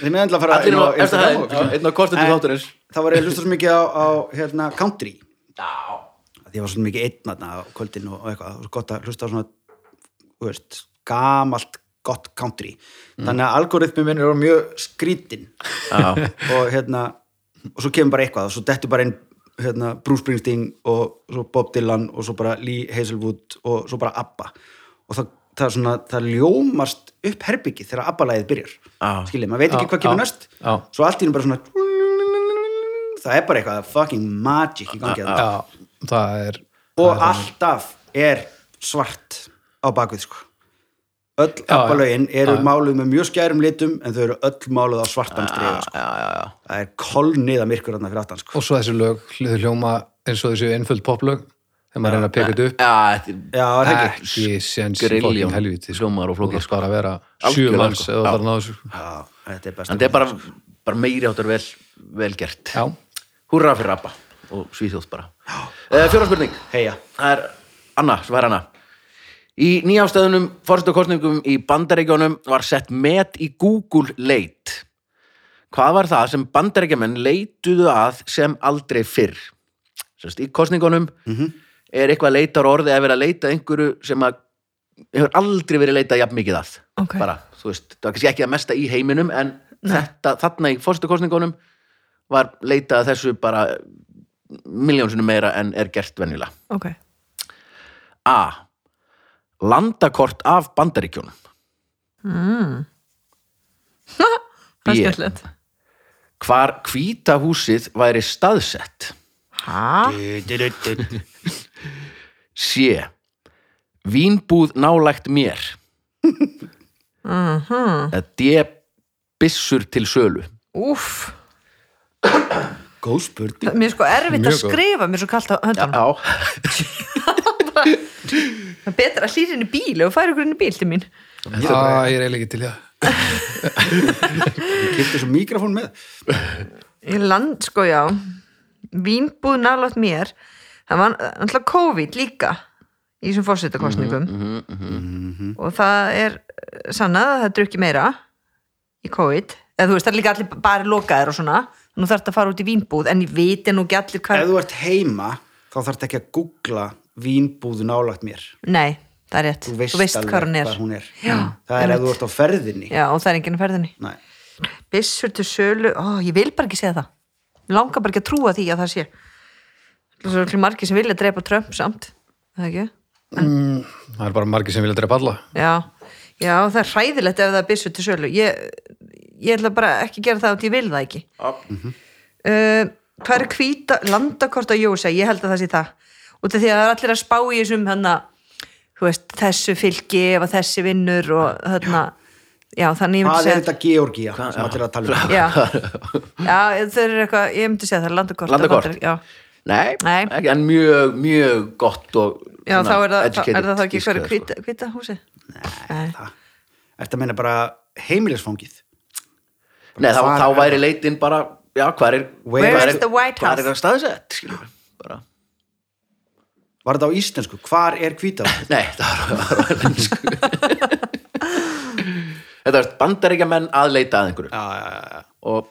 C: þið meðan til að fara
A: allir
C: inn á
A: á eftir
C: Instagram
A: hæðin,
C: og-
A: já, einn á kostandi
C: En
A: þátturins
C: þá var ég að hlusta svo mikið á, á hérna, country því ég var svo mikið einn þarna á kvöldin og, og eitthvað, og svo gott að hlusta á svona þú veist, gamalt gott country, þannig að algoritmi minn er mjög skrítin
A: Já.
C: <laughs> og hérna og svo kemur bara eitthvað og svo dettur bara inn hérna, Bruce Springsteen og svo Bob Dylan og svo bara Lee Hazelwood og svo bara Abba og það, það, er svona, það ljómast upp herbyggið þegar Abba-læðið byrjar
A: Já.
C: skiljið, maður veit ekki
D: Já,
C: hvað kemur
D: já,
C: næst
D: já.
C: svo allt í henni bara svona það er bara eitthvað fucking magic í gangi að
D: Já, það er
C: og alltaf er svart á bakvið sko öll
D: já.
C: Abba-lögin eru máluð með mjög skærum litum en þau eru öll máluð á svartan skrifa sko. það er kolniða myrkur þarna fyrir aftan sko.
D: og svo þessi lög hljóðu hljóma eins og þessi einföld poplög þegar maður reyna að peka þetta upp
A: já, þetta
C: Já, er það ekki
D: ekki sens í
A: Grilljón
D: fokkin helviti
A: hljómar og flókir,
D: þú þarf bara að vera
A: Algjörlega,
D: sjö manns
A: sko. Já.
D: eða það er náðu þessu sko.
C: Já, þetta er best
A: en þetta er bara, bara meiri áttur vel, vel gert
D: já,
A: hurra fyrir Abba og Svíþjóð bara uh, fjóra spurning
C: Heia.
A: það er Anna, svar Anna í nýjástæðunum fórsetakostningum í bandaríkjónum var sett met í Google leit hvað var það sem bandaríkjamenn leituðu að sem aldrei fyrr Sest, í kostningunum er eitthvað leitar orði að vera að leita að einhverju sem að hefur aldrei verið leitað jafn mikið að
B: Ok.
A: bara, þú veist, það var kannski ekki að mesta í heiminum en þetta, þarna í fórsetakostningunum var leitað að þessu bara miljónsinu meira en er gert venjulega
B: ok,
A: A. Landakort af bandaríkjónum
B: það er
A: Ég.
B: skemmtilegt
A: Hvar hvíta húsið væri staðsett
B: hæ,
C: bara
A: C. Vínbúð nálægt mér
B: Mhm.
A: Eða D. Bissur til sölu
B: úff
C: Góð spurning
B: mér er sko erfitt að
D: Mjög góð.
B: skrifa mér er svo kallt á höndunum
A: Já,
B: það er betra að hlýra inn í bíl og færa ykkur inn í bíl til mín
D: það er eiginlega ekki til í það
C: Ég kipti svo mikrofón með
B: Í land, sko já vínbúð nálátt mér það var alltaf COVID líka í þessum fórsetakostningum og það er eh, sannað að það drukki meira í COVID eða þú veist, það er líka allir bara lokaðir og svona nú þarf þetta að fara út í vínbúð en ég veit nú ekki allir
C: Ef
B: hvað
C: þú ert heima þá þarf ekki að googla vínbúðu nálagt mér
B: nei, það er rétt,
C: Þú veist, alveg
B: hvað hún er,
C: hvað hún er. Mm.
B: Já,
C: Það er ef
B: einmitt.
C: þú ert á ferðinni
B: Já, og það er enginn að ferðinni
C: Nei.
B: Bissur til sölu, ó, ég vil bara ekki segja það Ég langar bara ekki að trúa því að það sé Svo er allir margir sem vilja drepa Trump samt, er það ekki?
D: það er bara margir sem vilja drepa alla
B: Já, já, það er hræðilegt ef það er bissur til sölu Ég, ég ætla bara ekki að gera það og ég vil það ekki uh, Hvað er hvíta, landakort á Jósa? Ég held að það sé það Út af því að það er allir að spá í þessum hana, þú veist, þessu fylgi ef að þessi vinnur og þarna Já, þannig ég myndi
C: Hvað
B: segja
C: er þetta Georgía sem allir eru að tala um
B: já, já þau eru eitthvað ég myndi segja það, landakort
A: Landakort.
B: Landar- já,
A: nei,
B: Nei.
A: Ekki, en mjög, mjög gott og
B: já
A: svona
B: þá er það,
A: educated
B: er það þá ekki
A: íslenska,
B: hverju hvita, hvita húsi Nei.
C: það? Ertu að meina bara heimilisfangið
A: sko. Nei, þá,
C: Hvar
A: þá
C: er
A: væri leitin bara, já, hvað er
C: Where
A: hvar
B: is the White
A: Hvar
B: House?
A: er það staðsett, skilur við, bara
C: Var þetta á íslensku? Hvar er hvítað?
A: Nei, það var, var, var lensku <laughs> Þetta var bandaríkjamenn að leita að einhverju
C: Já, já, já, já.
A: og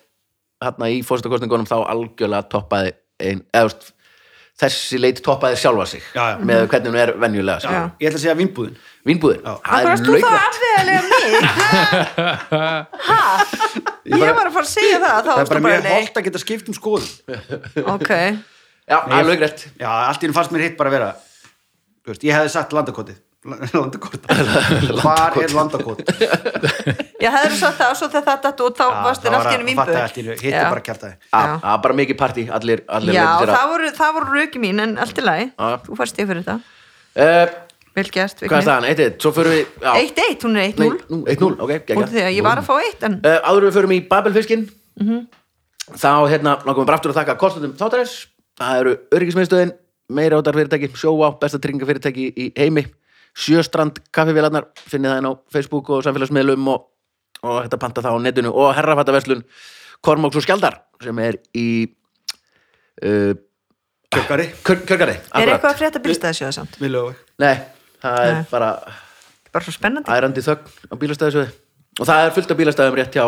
A: hérna í fórstakostningunum þá algjörlega toppaði ein, eða, þú veist, þessi leit toppaði sjálfa sig
C: Já, já.
A: með hvernig hún er venjulega
B: Já.
A: skilur.
C: Ég ætla að segja vínbúðin
A: Vínbúðin,
C: Já.
B: Af
A: það
B: hverju
A: er
B: varst þú það
A: laukrætt
B: afvegalega mig? Hæ? Ég var að fara að segja það
C: Það
B: þá
C: er bara
B: varstu bara
C: mjög
B: nei
C: hótt að geta skipt um skoðum
B: Ok,
A: Já, það er laukrætt
C: Já, allt í henni fannst mér hitt bara að vera þú veist, Ég hefði sagt landakotið <laughs> Landakot Hvar er
B: <laughs>
C: landakot?
B: ég hefði sagt það og svo þegar það datt út þá
C: Já, það
B: varst þér
C: var
B: allt í
C: að
B: henni
C: fatta
B: vimbu
C: allt í einu, hitti bara kjartaði.
B: Já,
A: Það er bara mikið partí, allir, allir
B: já
A: leita sér
B: það
A: að.
B: voru, það voru röki mín en allt í lagi
A: Já.
B: Þú færst ég fyrir þetta
A: Uh,
B: Vel gert,
A: Hvað er staðan? 1-1, svo förum við já.
B: 1-1, hún er 1-0
A: Nei, nú, 1-0, ok,
B: Út af því
A: geggjað.
B: að ég var að fá 1 en
A: uh, áður en við förum í Babelfiskin þá hérna langum við bara aftur að þakka kostnundum þáttarins það eru öryggismiðstöðin meira átar fyrirtæki, sjóá, besta tryggingafyrirtæki í heimi, sjöstrand kaffivélarnar, finnið það inn á Facebook og samfélagsmiðlum og, og þetta panta það á netinu og herrafattaverslun Kormáks og Skjaldar sem er í uh,
C: kjökkari
A: Kör- Kjörgarði,
B: Er
A: akkurat
B: eitthvað að frétta bílstæðisjóða samt?
C: við lögum
A: Nei, það er
B: Nei.
A: bara
B: Bara svo spennandi.
A: ærandi þögn á bílastæðisöði og það er fullt af bílastæðum rétt hjá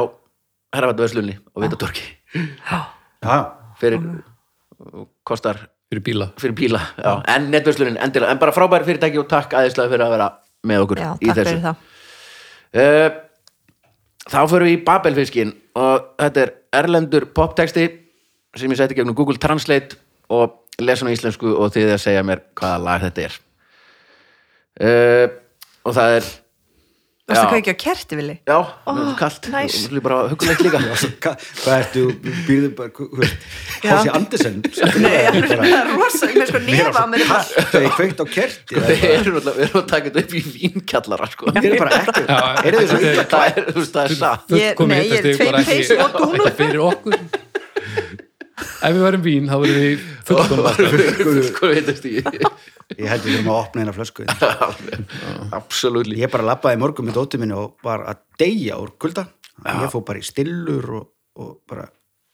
A: herrafatverslunni og vitatorki
B: Já.
C: já,
A: fyrir og kostar
D: fyrir bíla
A: fyrir bíla, já, en netverslunin endilega, en bara frábæri fyrirtæki og takk aðeinslega fyrir að vera með okkur
B: Já,
A: í
B: takk
A: þessu
B: fyrir það.
A: Eh, Þá förum við í Babelfiskin og þetta er erlendur poptexti sem ég seti gegnum Google Translate og lesa hann á íslensku og þið að segja mér hvaða lag þetta er uh, og það er
B: Þú veist
A: Já.
B: að kveikja á kerti, Vili?
A: já, oh, kallt,
B: nice.
A: og bara huggulegt
D: <laughs>
A: líka
C: Hva, hvað ertu, býrðu bara hú- hú veist,
B: Já.
C: Hási Andersen
B: <laughs> Nei, já, það er rosa, ég með sko nefa á mér í bara.
C: það er kveikt á kerti það
A: <laughs> við erum náttúrulega- við erum að taka þetta upp í vínkjallara sko.
C: er bara ekki er þið svo
D: <laughs> þetta
C: illa
D: er-
A: það er, þú veist, það er satt
B: Ég-
D: fullkomið
B: nei, ég er
D: hitastig,
B: tveim
D: bara ekki-
B: peysum og dúnúlpu.
D: <laughs> ekki fyrir okkur ef við varum vín þá varum við
A: <laughs>
D: fullkomið
A: sko veitast í
C: ég held ég þurfum að opna eina flösku
A: absolutt
C: ég bara labbaði í morgun með dóttu minni og var að deyja úr kulda ég fó bara í stillur og, og bara,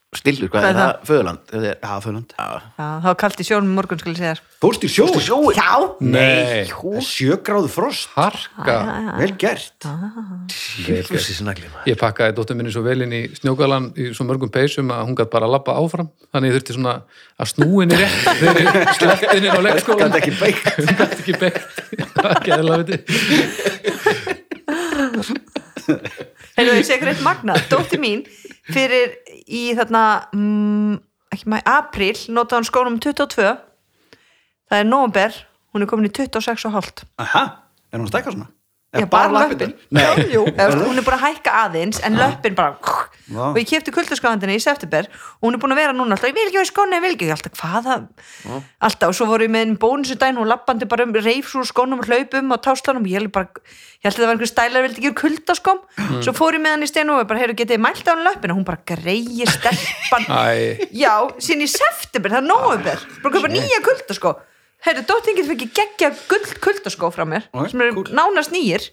A: stillur, hvað er
B: Hvað er
A: það? Föðurland þetta er-
C: já, föland
A: já.
B: Já, þá er kalt í sjónum í morgun, skulle ég segja sko. þér.
C: fórst í sjó,
A: sjói
B: Já,
D: nei,
C: sjögráðu frost
D: harka
C: vel gert
A: Þessi snagli maður
D: ég pakkaði dóttur minni svo vel inn í snjógalan í svo mörgum peysum að hún gætt bara að labba áfram þannig ég þurfti svona að snúinni rétt þegar ég sleppti henni á leikskólan
C: Gat ekki beikt.
D: hún gætt ekki beitt <laughs> það var gæðilega viti
B: Heyrðu, ég sé ykkur eitt magnað, dótti mín fyrir í þarna mm, ekki maður, april, notaði hún um skónum 22 það er nómber, hún er komin í 26 og hálft
C: aha, er hún að stækka svona?
B: Já, bara löppin
C: Nei.
B: Jú, eða, sko, hún er búin að hækka aðeins en löppin bara
C: Vá.
B: og ég kefti kuldaskafandina í september og hún er búin að vera núna alltaf, ég vil ekki hafa skóna, ég vil ekki alltaf, hvaða alltaf, og svo voru ég með einn bónusudæn og lappandi bara um reif úr skónum og hlaupum og táslanum, ég held bara ég held að það var einhver stælar, vildi ekki úr kuldaskom svo fór ég með hann í stenu og bara, heyrðu, getið þið mælt á hann löppin og hún bara greiði <laughs> stelpan
D: Æ.
B: já, sín í september, það er nóvember bara köpa nýja kuldaskó heyrðu, dóttingin fikk geggja gull kuldaskó frá mér,
C: Ok,
B: sem eru
C: cool.
B: nánast nýjir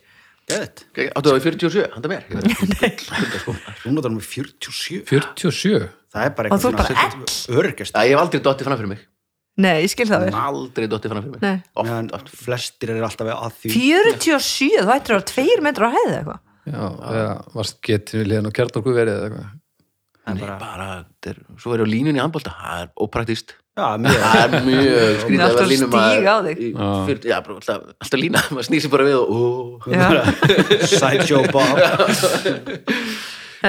C: Geðveikt.
A: Áttu það í 47, handa mér Ég veit.
C: Þú notar nummer 47
D: 47
C: Það er bara
B: Og þú ert bara
A: Æ,
C: örgjast
A: Ég hef aldrei dottið fram fyrir mig
B: Nei, ég skil það vel
A: Aldrei dottið fram fyrir
B: Nei.
A: mig Oft, oft.
C: Flestir er alltaf að því
B: 47, þú ættir að vera tveir metrar á hæði eða eitthvað
D: já, eða varst getið við liðan og kjart okkur verið eða eitthvað
A: Nei, bara, þetta er, Svo verður á línunni í handbólta Það er ópraktist
C: Já, mjög
A: <laughs> Það er mjög skrítið
B: Alltaf
A: vera línumaður
B: stíg á þig.
A: í 40 Já, bara alltaf, alltaf lína Maður snýr sér bara við og ó.
B: Já,
C: Sideshow Bob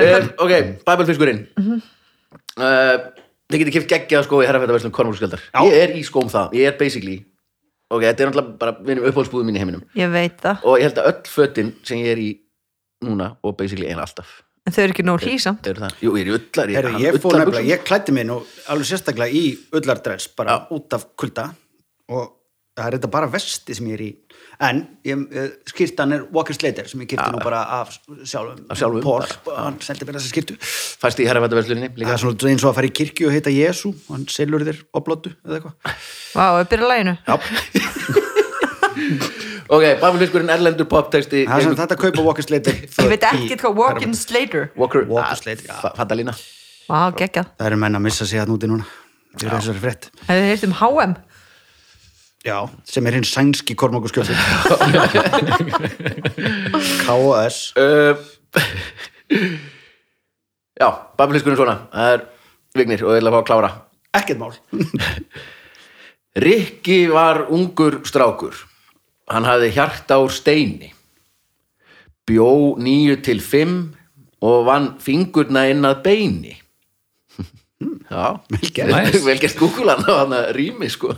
A: Eh, Ok, bæbelfiskurinn Eh, Þið getið kipt geggjað skó í herrafættaverslum Kornvúlskjaldar Ég er í skóm það, ég er basically Ok, þetta er náttúrulega bara vinum uppáhaldsbúðum mín í heiminum
B: ég veit það
A: og ég held að öll fötin sem ég er í núna og basically eina alltaf
B: En þau eru ekki nóg hlýsamt
A: eru það, jú, ég er í ullar ég,
C: Herri, ég
A: er í
C: fór nefnilega,
A: ullarbuxum.
C: ég klætti mig nú alveg sérstaklega í öllardress bara út af kulda og það er þetta bara vesti sem ég er í en ég, eh, skýrtan er Walker Slater sem ég kýrti nú bara af sjálfum,
A: Af sjálfum,
C: Paul, hann seldi mér þessa skýrtu
A: fæst í herrafættaversluninni
C: það
A: líka
C: er svona eins og að fara í kirkju og heita Jésu hann selur þér oblótu eða eitthvað
B: Vá, við byrja læginu
A: ok, Bafilfiskurinn erlendur poptexti
C: það er sem þetta að kaupa Walker Slater
B: <laughs> Ég veit ekkert hvað walk-in slater
A: Walker, Ah,
C: Walker Slater, já.
A: fattalína
B: Vá, geggjað
C: það eru menn að missa sig hann úti núna það eru þessari frétt
B: Hefur þið heyrt um HM?
C: Já, sem er hinn sænski kormokur
A: <laughs>
C: skjöfnir K.O.S.
A: uh, <laughs> já, Bafilfiskurinn svona það er vignir og ég ætla að fá að klára
C: Ekkert mál
A: Rikki var ungur strákur. Hann hafði hjarta úr steini. Bjó nýju til fimm og vann fingurna inn að beini. <laughs> Já, vel
C: gert.
A: <laughs> vel gert Google-an á hann að rými, sko.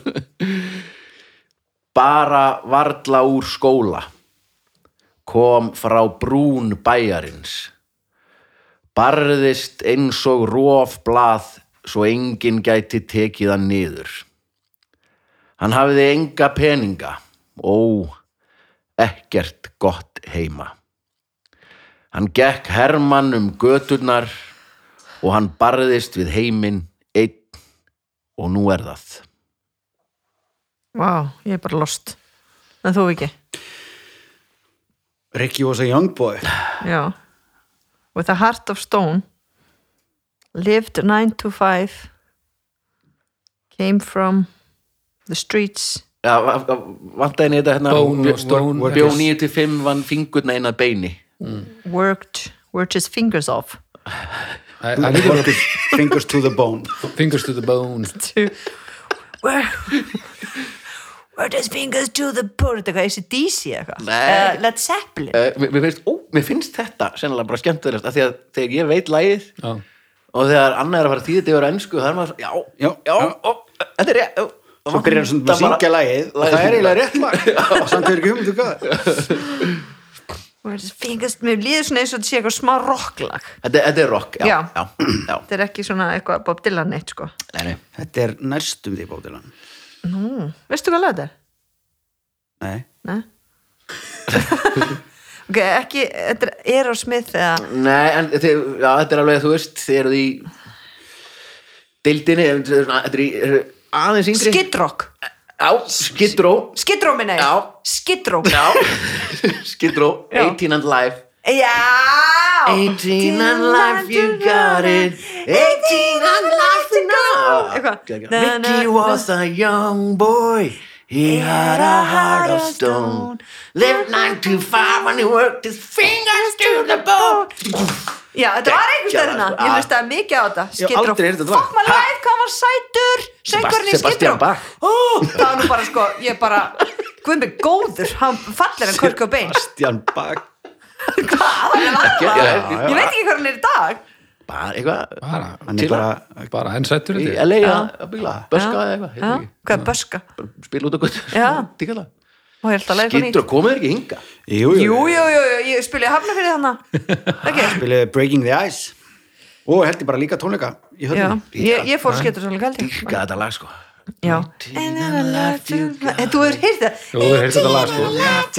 A: Bara varla úr skóla. Kom frá brún bæjarins. Barðist eins og rofblað svo enginn gæti tekið hann niður. Hann hafði enga peninga, ó, ekkert gott heima. Hann gekk hermann um göturnar og hann barðist við heiminn einn og nú er það.
B: Vá, ég er bara lost En þú ekki?
C: Ricky was a young boy
B: Já With a heart of stone Lived 9 to 5 Came from The Streets
A: Já, va- va- vantaði henni þetta hérna
D: Bone
A: bjó-
D: og stone,
A: bjó- Bjó 9 til 5 vann fingurna eina beini
B: Worked, worked his fingers off
D: Það er líka
C: Fingers- Fingers to the bone
D: fingers to the bone
B: to where, worked his fingers to the bone Þetta er eitthvað ACDC eitthvað
A: Nei.
B: Eða Led Zeppelin
A: uh, mér, mér, finnst, ó, mér finnst þetta sennilega bara skemmtilegast af því að þegar ég veit lægið
D: Já.
A: og þegar annað er að fara þýðið yfir á ensku það er maður, svo, já, já,
C: Já,
A: já,
C: já.
A: ó, þetta er rétt ó,
C: Svo byrjar hann svona að
A: vantar
C: syngja
A: bara-
C: lagið og það er eiginlega rétt <laughs> lag og samt er ekki hugmyndu hvað
B: Worked his fingers, mér líður svona eins og þetta sé eitthvað smá rocklag
A: Þetta, þetta er rock, já, já,
B: Já.
A: já, já.
B: Þetta er ekki svona eitthvað Bob Dylan neitt sko
A: Nei, nei.
C: Þetta er næstum því bóðilan
B: Veistu hvað lag þetta er?
C: Nei,
A: <laughs>
B: Nei Ok, ekki, þetta er Aerosmith eða
A: Nei, en þið, já, þetta er alveg, þú veist, þið eruð í deildinni, ef þetta er svona- þetta er í eru aðeins yngri
B: Skidrock
A: Já, skidró
B: Skidró minna ég
A: Já.
B: Skidró
A: Já, <laughs> skidró,
B: Já.
A: 18 and life
B: Já
A: 18 and life, you got it 18 and life to know
B: Eitthvað. Na, na,
A: Ricky was a young boy He had a heart of stone Lived 9 to 5 and he worked his fingers to the bone
B: Já, þetta var einhvers
A: Geggjað,
B: stærna
A: sko.
B: Ég hlustaði mikið á þetta Skidró
C: aldrei heyrði þetta lag.
B: Fuck my life, hvað var sætur Söngurinn í
A: Sebastian
B: Skidró
A: Bach.
B: Það var nú bara sko, ég bara Guð mig góður, hann fallir en Kurt Cobain
C: Stján Bak
B: Hvað, hann er
A: Já, já,
B: aðra
A: já.
B: Ég veit ekki hvað hann er í dag
A: Bara eitthvað
D: bara,
C: Hann
A: Til
C: er bara
D: bara henn sættur
A: Í
D: þetta
A: LA að bíla, böska eða eitthvað
B: Já,
A: hérna ekki.
B: Hvað er böska?
A: Bara Spila út á gott
B: Já.
A: Skidró,
B: Má ég held að leika nýtt
A: komið þér ekki hinga
C: Jú,
B: Jú,
C: jú,
B: jú, jú, jú, ég spila í hafna fyrir þannig okay.
C: spilaði Breaking the Ice og held ég bara líka tónleika í
B: Já,
C: höllum
B: ég, ég fór skettur svolítið kaldi
A: Dýrka þetta lag sko
B: Já And then I love you En Þú hefur heyrt það
D: Jú, þú hefur heyrt þetta lag,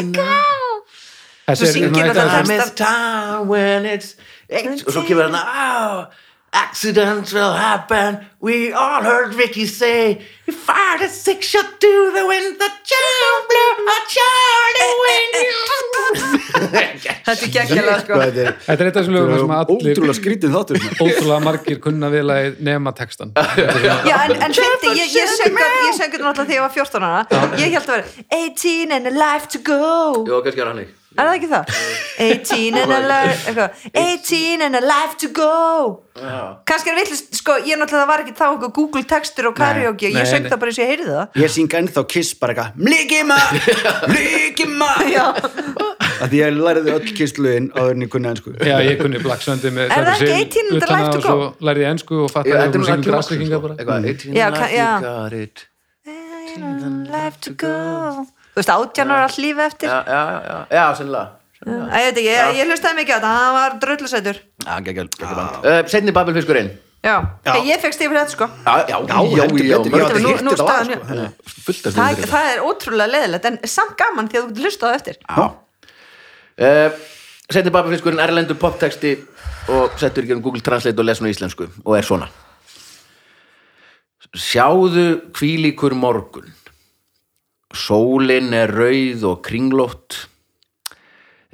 D: sko.
B: Svo syngir þetta
D: þetta
A: Time is time when it's Og svo kemur hann oh, Accidents will happen We all heard Ricky say He fired a six shot to the wind The child blew a child
B: <laughs>
A: away
B: Þetta er geggjala sko
C: Hvað þetta
D: Þetta er eitt af þessum lögum þar sem allir-
C: Ótrúlega skrítið þáttur
D: ótrúlega margir kunna vel að nema textan
B: Já, en, en fyndi, ég, ég söng þetta- ég söng þetta náttúrulega þegar ég var 14 ára Ég held að vera 18 and a life to go
A: Jó, kannski er hann ekki
B: Er það ekki það? 18 and a life eitthvað, 18 and a life to go Kannski er villist, sko, ég náttúrulega það var ekki þá einhver Google textur og karaoke
D: nei,
B: Ég söng
D: nei.
B: það bara eins og ég heyrði það
C: Ég syng ennþá Kiss bara eitthvað Líkima, líkima
B: <laughs>
C: að Því ég læriði öll kistlögin áður en ég kunni ennsku
D: Já, ég kunni Black Sunday með
B: Er það
D: Cypress
B: ekki
D: Hill
B: 18 and the
D: utan
B: life
D: að
B: to
D: og Svo lærði ég ensku og fattaði að hún syngur græsleikinga bara
A: Eitthvað, 18
B: Já,
A: life you
B: kann- já.
A: got it
B: I'll have to go Þú veist, átján ára all lífi eftir
A: Já, já, já, já, sennilega
B: Æ, ég veit ekki, ég, ég hlustaði mikið á þetta hann var drullusætur
A: Já, geggjál, geggjál Setni Babelfiskurinn
B: Já, Hey, ég fekk stífur þetta sko
A: Já, já, já, já,
C: heldur
A: já,
C: betur.
A: mörg-
C: Ég átti
B: Nú-
C: heyrt
B: nú
C: þetta lag,
B: staðan-
C: sko, þannig að-
A: fullt af
B: það,
A: stundum.
B: það er ótrúlega leðilegt en samt gaman því að þú getur hlustað á eftir
A: uh, Settir babafiskurinn erlendur poptexti og settur ekki um Google Translate og lesun á íslensku og er svona Sjáðu kvílíkur morgun Sólin er rauð og kringlótt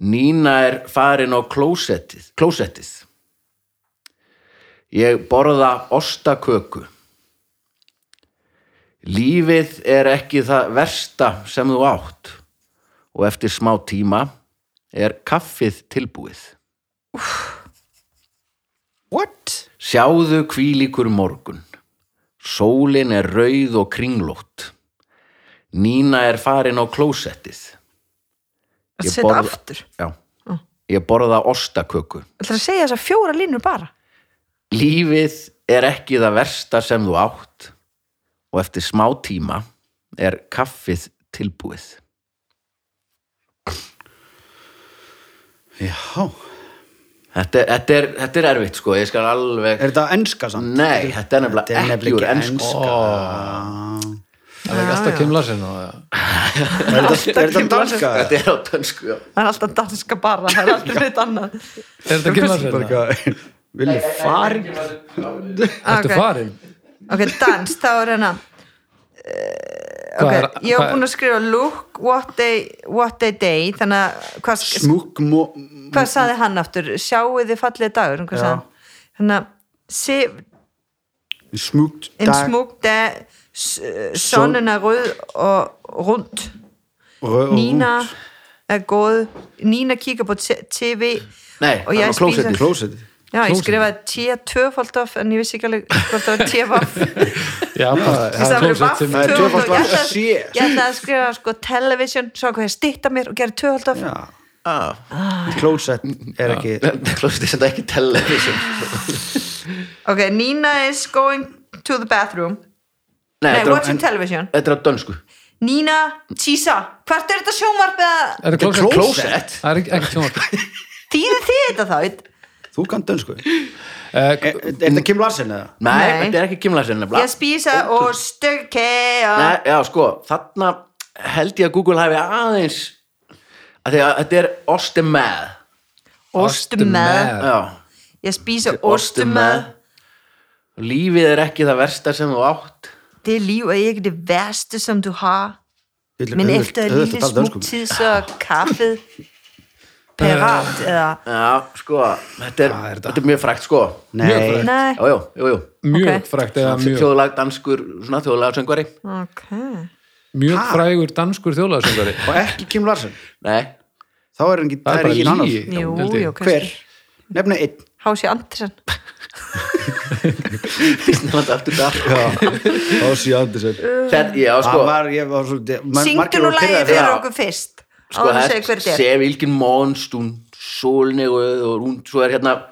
A: Nína er farin á klósettið, klósettið. Ég borða ostaköku Lífið er ekki það versta sem þú átt og eftir smá tíma er kaffið tilbúið.
C: What?
A: Sjáðu kvílíkur morgun. Sólin er rauð og kringlótt. Nína er farin á klósettið.
B: að
A: Ég
B: setja
A: borða-
B: aftur
A: Já. Ég borða ostaköku.
B: Það er að segja þess að fjóra línur bara
A: Lífið er ekki það versta sem þú átt og eftir smá tíma er kaffið tilbúið.
C: Já,
A: Þetta, er- þetta, er, þetta er erfitt sko, ég skal alveg...
C: er þetta ennska samt?
A: Nei, þetta er
C: Þetta er
A: nefnilega ekki sko. úr
C: nefnilega ekki
A: ennsku.
C: ennska
D: Það er ekki alltaf Kim Larsen og
C: Er þetta- er þetta danska?
A: Þetta er á dansku, já.
B: Það er alltaf danska bara,
D: <laughs>
B: það er aldrei neitt annað
D: Er þetta Kim Larsen?
C: Bara eitthvað Villi farin
D: Ertu
B: Ok.
D: farin?
B: Ok, dans, þá er hérna
D: Eh, Hvað er-
B: Ok, ég
D: hvað
B: var
D: er-
B: búin að skrifa look, what a, what a day þannig að hvað,
C: Smúk
B: hvað saði hann aftur sjáu þið fallið dagur um hvað
C: Já.
B: sagði hann? þannig að si,
C: smúkt
B: En
C: dag
B: smuk, der sonnen er rød og rundt.
C: röð og
B: Nina er gået. Nina kigger på t- tv.
A: Nei,
B: og
A: það
B: jeg
A: var klósettið.
B: spiser...
C: klósið
B: Já, ég skrifaði tía tvöfaldof, en ég vissi ekki alveg hvort það var tía vaff.
D: Já, það
B: Í staðan fyrir vaff,
C: er
B: tvöfald
C: tvöfalt
B: og ég
C: vaff.
B: ætlaði-
C: Shit.
B: Ég ætlaði að skrifa sko television, svo hvað ég stýtta mér og gera tvöfald af.
C: já,
A: Ah,
C: klósett er ekki
A: Klósettið sem það ekki television
B: Ok, Nina is going to the bathroom.
A: Nei,
B: Nei,
A: þetta er á-
B: watching television.
A: þetta er á dönsku
B: Nina, tísa, hvert er þetta sjónvarpið að...
D: Er það
A: Þetta er
D: klósett?
A: klósett.
D: Það er ekki, ekki sjónvarp.
B: Þýði þið þetta þá?
C: þú kannt dönsku er,
D: Eh,
C: er þetta Kim Larsen eða?
A: Nei,
B: Nei.
A: þetta er ekki kimlasin
B: Ég spísa og stökki og...
A: Nei, já, sko, þarna held ég að Google hafi aðeins að því að þetta er ostemæð
B: Ostumæð.
A: Já,
B: Ég spísa ostumæð.
A: Lífið er ekki það versta sem þú átt
B: Det liv er ikke det værste, som du har.
C: Þetta er
B: Men
C: auðvelt-
B: efter en
C: auðvelt
B: lille
C: að tala dönsku.
B: smuk tid, så er kaffet parat.
A: Øh.
B: Eller...
A: Já, sko, þetta er,
D: Hvað er þetta?
A: þetta er mjög frækt, sko
D: Mjög
C: nei,
D: frægt.
B: Nei.
A: Jú, jú, jú, jú
D: Mjög
B: Ok.
D: frægt eða mjög,
A: Þjóðlag danskur, svona þjóðlag söngvari
B: Ok.
D: mjög frægur danskur þjóðlagsöngari.
C: og ekki Kim Larsen
A: Nei,
C: þá er engin, það er engin annar
D: lygi,
B: Jú,
D: held ég.
B: jú, kannski.
C: hver, nefna einn
B: Hási Andersen.
A: Ísland aftur það
C: Ossi Andersen
A: Þetta, já,
C: sko,
A: sko,
C: var, ég var svolítið ma-
B: Uh, Syngdu
C: margir
B: nú
C: voru pirraðir fyrir
B: lagið fyrir
A: það.
B: okkur fyrst.
A: sko
B: Áður en segja hver þetta er.
A: Sef ilgin mónstún, sólneguð og hún, svo er hérna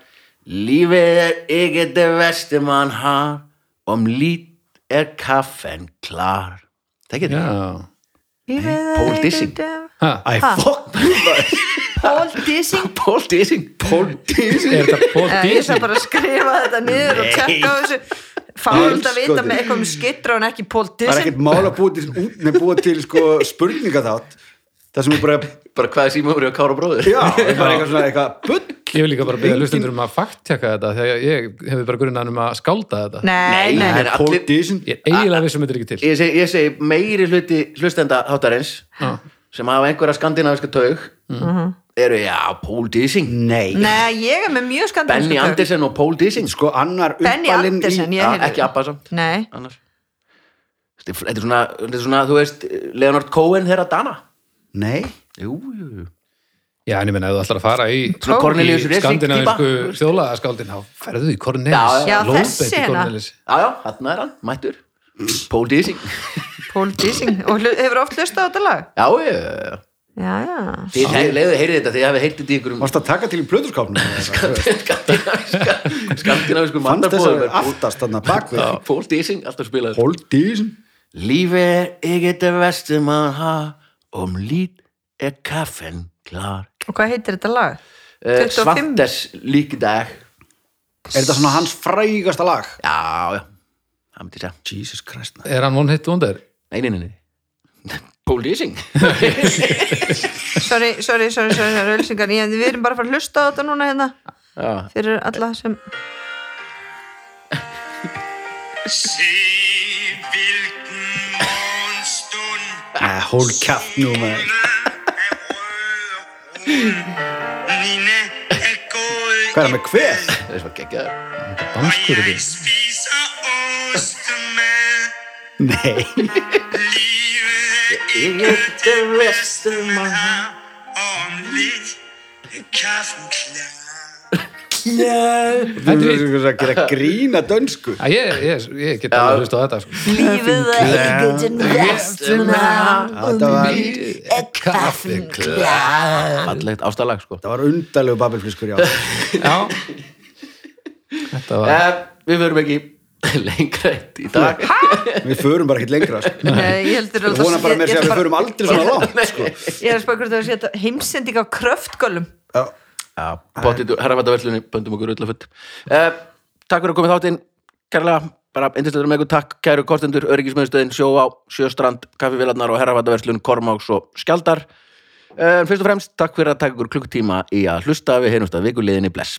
A: Lífið er ekki það versta mann har Om lít er kaffen klar Það getur
D: Já.
A: yeah.
B: Ég veit
A: Paul
B: ekki
A: Dissing.
B: þetta-
D: Ha,
C: Æ, fokk
B: Paul Dissing.
A: Paul Dissing Paul Dissing
D: Er þetta Paul
B: Eh, Ég
D: Dizzy?
B: ætla bara að skrifa þetta niður og tjekka á þessu. Fáðult að vita
C: Andskotinn.
B: með eitthvað um skittra en ekki Paul
C: það er
B: Dissing.
C: ekkert mál að búa til, út- nei, búa til sko, spurninga þátt það sem er bara
A: Bara hvað er símaður og kára
C: <laughs>
A: bróður
C: já, það er bara eitthvað svona eitthvað bull
D: Ég vil líka bara byrja hlustendur um að fakttjaka þetta þegar ég hefði bara grunnan um að skálda þetta.
B: Nei,
A: Nei,
B: nei.
A: nei.
C: Paul
A: allir-
C: Dizzy
D: Ég er eiginlega vissum þetta er ekki til.
A: Ég segi, ég segi meiri hluti hlustenda þáttarins
D: Já.
A: sem hafa einhverja skandinaviska taug eru, já, Paul Dissing
C: nei,
B: Nei, ég er með mjög skandalíska
A: Benny
B: tök.
A: Andersen og Paul Dissing
C: sko annar
B: Benny
C: uppalinn
B: Andersen,
C: í
B: ég
A: Já,
B: heyrði.
A: ekki Abba samt
B: Nei,
A: annars Þetta er- þetta er svona, þetta er svona þú veist, Leonard Cohen þeirra Dana
C: nei,
A: Jú, jú, jú
D: Já, en ég meina, ef þú ætlar að fara í,
A: Svona Cornelius
D: í
A: Resig
D: skandinavisku
A: típa.
D: þjóðlagaskáldin, þá ferðu í Cornelis,
A: Já, já.
B: Já,
D: Lóbetti
B: þessi hérna.
D: Cornelis.
A: Já, já, þarna er hann, mættur Paul Dissing
B: Paul Dissing og hlu- hefur oft hlustað á þetta lag
A: Já, já, já
B: Já, já
A: Þið hefði heyrið þetta, þið hefði heyrt þetta í einhverjum
C: varst að taka til í <laughs> plöðurskapnum Sko,
A: skandinaviska skandinavisku
C: fannst þessari
A: mandarbóðum
C: aftast þarna bakvið
A: Paul Dissing, alltaf spilaður
C: Paul Dizzy
A: Lífið er ekkert það versta mann har Om um lít er kaffen klar
B: Og hvað heitir þetta lag?
A: uh,
B: 25.
A: Svantes líkidag
C: er þetta svona hans frægasta lag
A: Já, já, það myndi ég segja
C: Jesus Christ maður.
D: Er hann one hit wonder?
A: Nei, nei, nei, nei <laughs> Paul Dissing
B: Sorry, sorry, sorry, sorry, sorry ölsingar. ég, Við erum bara að fara að hlusta á þetta núna hérna
A: Já,
B: Fyrir alla sem
E: Seh, hvilken morgenstund
C: Nei, hold kæft nú maður
E: er rød og rund. Nina er gået
C: hvað er það með hver?
A: það er svo geggjaður
D: Danskur er
E: og jeg
D: þetta.
E: spiser ostemad.
C: <laughs> nei,
E: Livet er ikke
A: Ég er
E: det
A: það
E: værste,
A: versta
E: man
A: mann har
E: har. Og om lidt er kaffen klar.
C: þú veist að gera grína dönsku
D: Já, Ég, ég, ég get alveg hlust á þetta sko.
B: Lífið er ekki til vestum
C: þetta var,
D: Kaffi
A: Fallegt ástalag, sko
C: þetta var undalegu babelflískur já
D: Já Þetta var
A: uh, Við verum ekki <laughs> lengra í dag
C: við förum bara ekkert lengra sko.
B: Ég heldur
C: ég vona bara með að segja að við förum aldrei <laughs>
B: <laughs>
C: svona langt sko.
B: Ég er að spá hvort það sé þetta heimsending á kröftgölum
C: Já,
A: Já, bóttið úr herrafættaverslunni, böndum okkur öllaföld. Uh, takk fyrir að komið þáttinn, kærlega, bara endislega með ykkur takk, kæru kostendur, öryggismiðstöðin, sjó á, sjöstrand, kaffivélarnar og herrafættaverslun, kormáks og Eh, skjaldar. Uh, fyrst og fremst, takk fyrir að taka ykkur klukkutíma í að hlusta við heyrumst að vikuliðinni bless.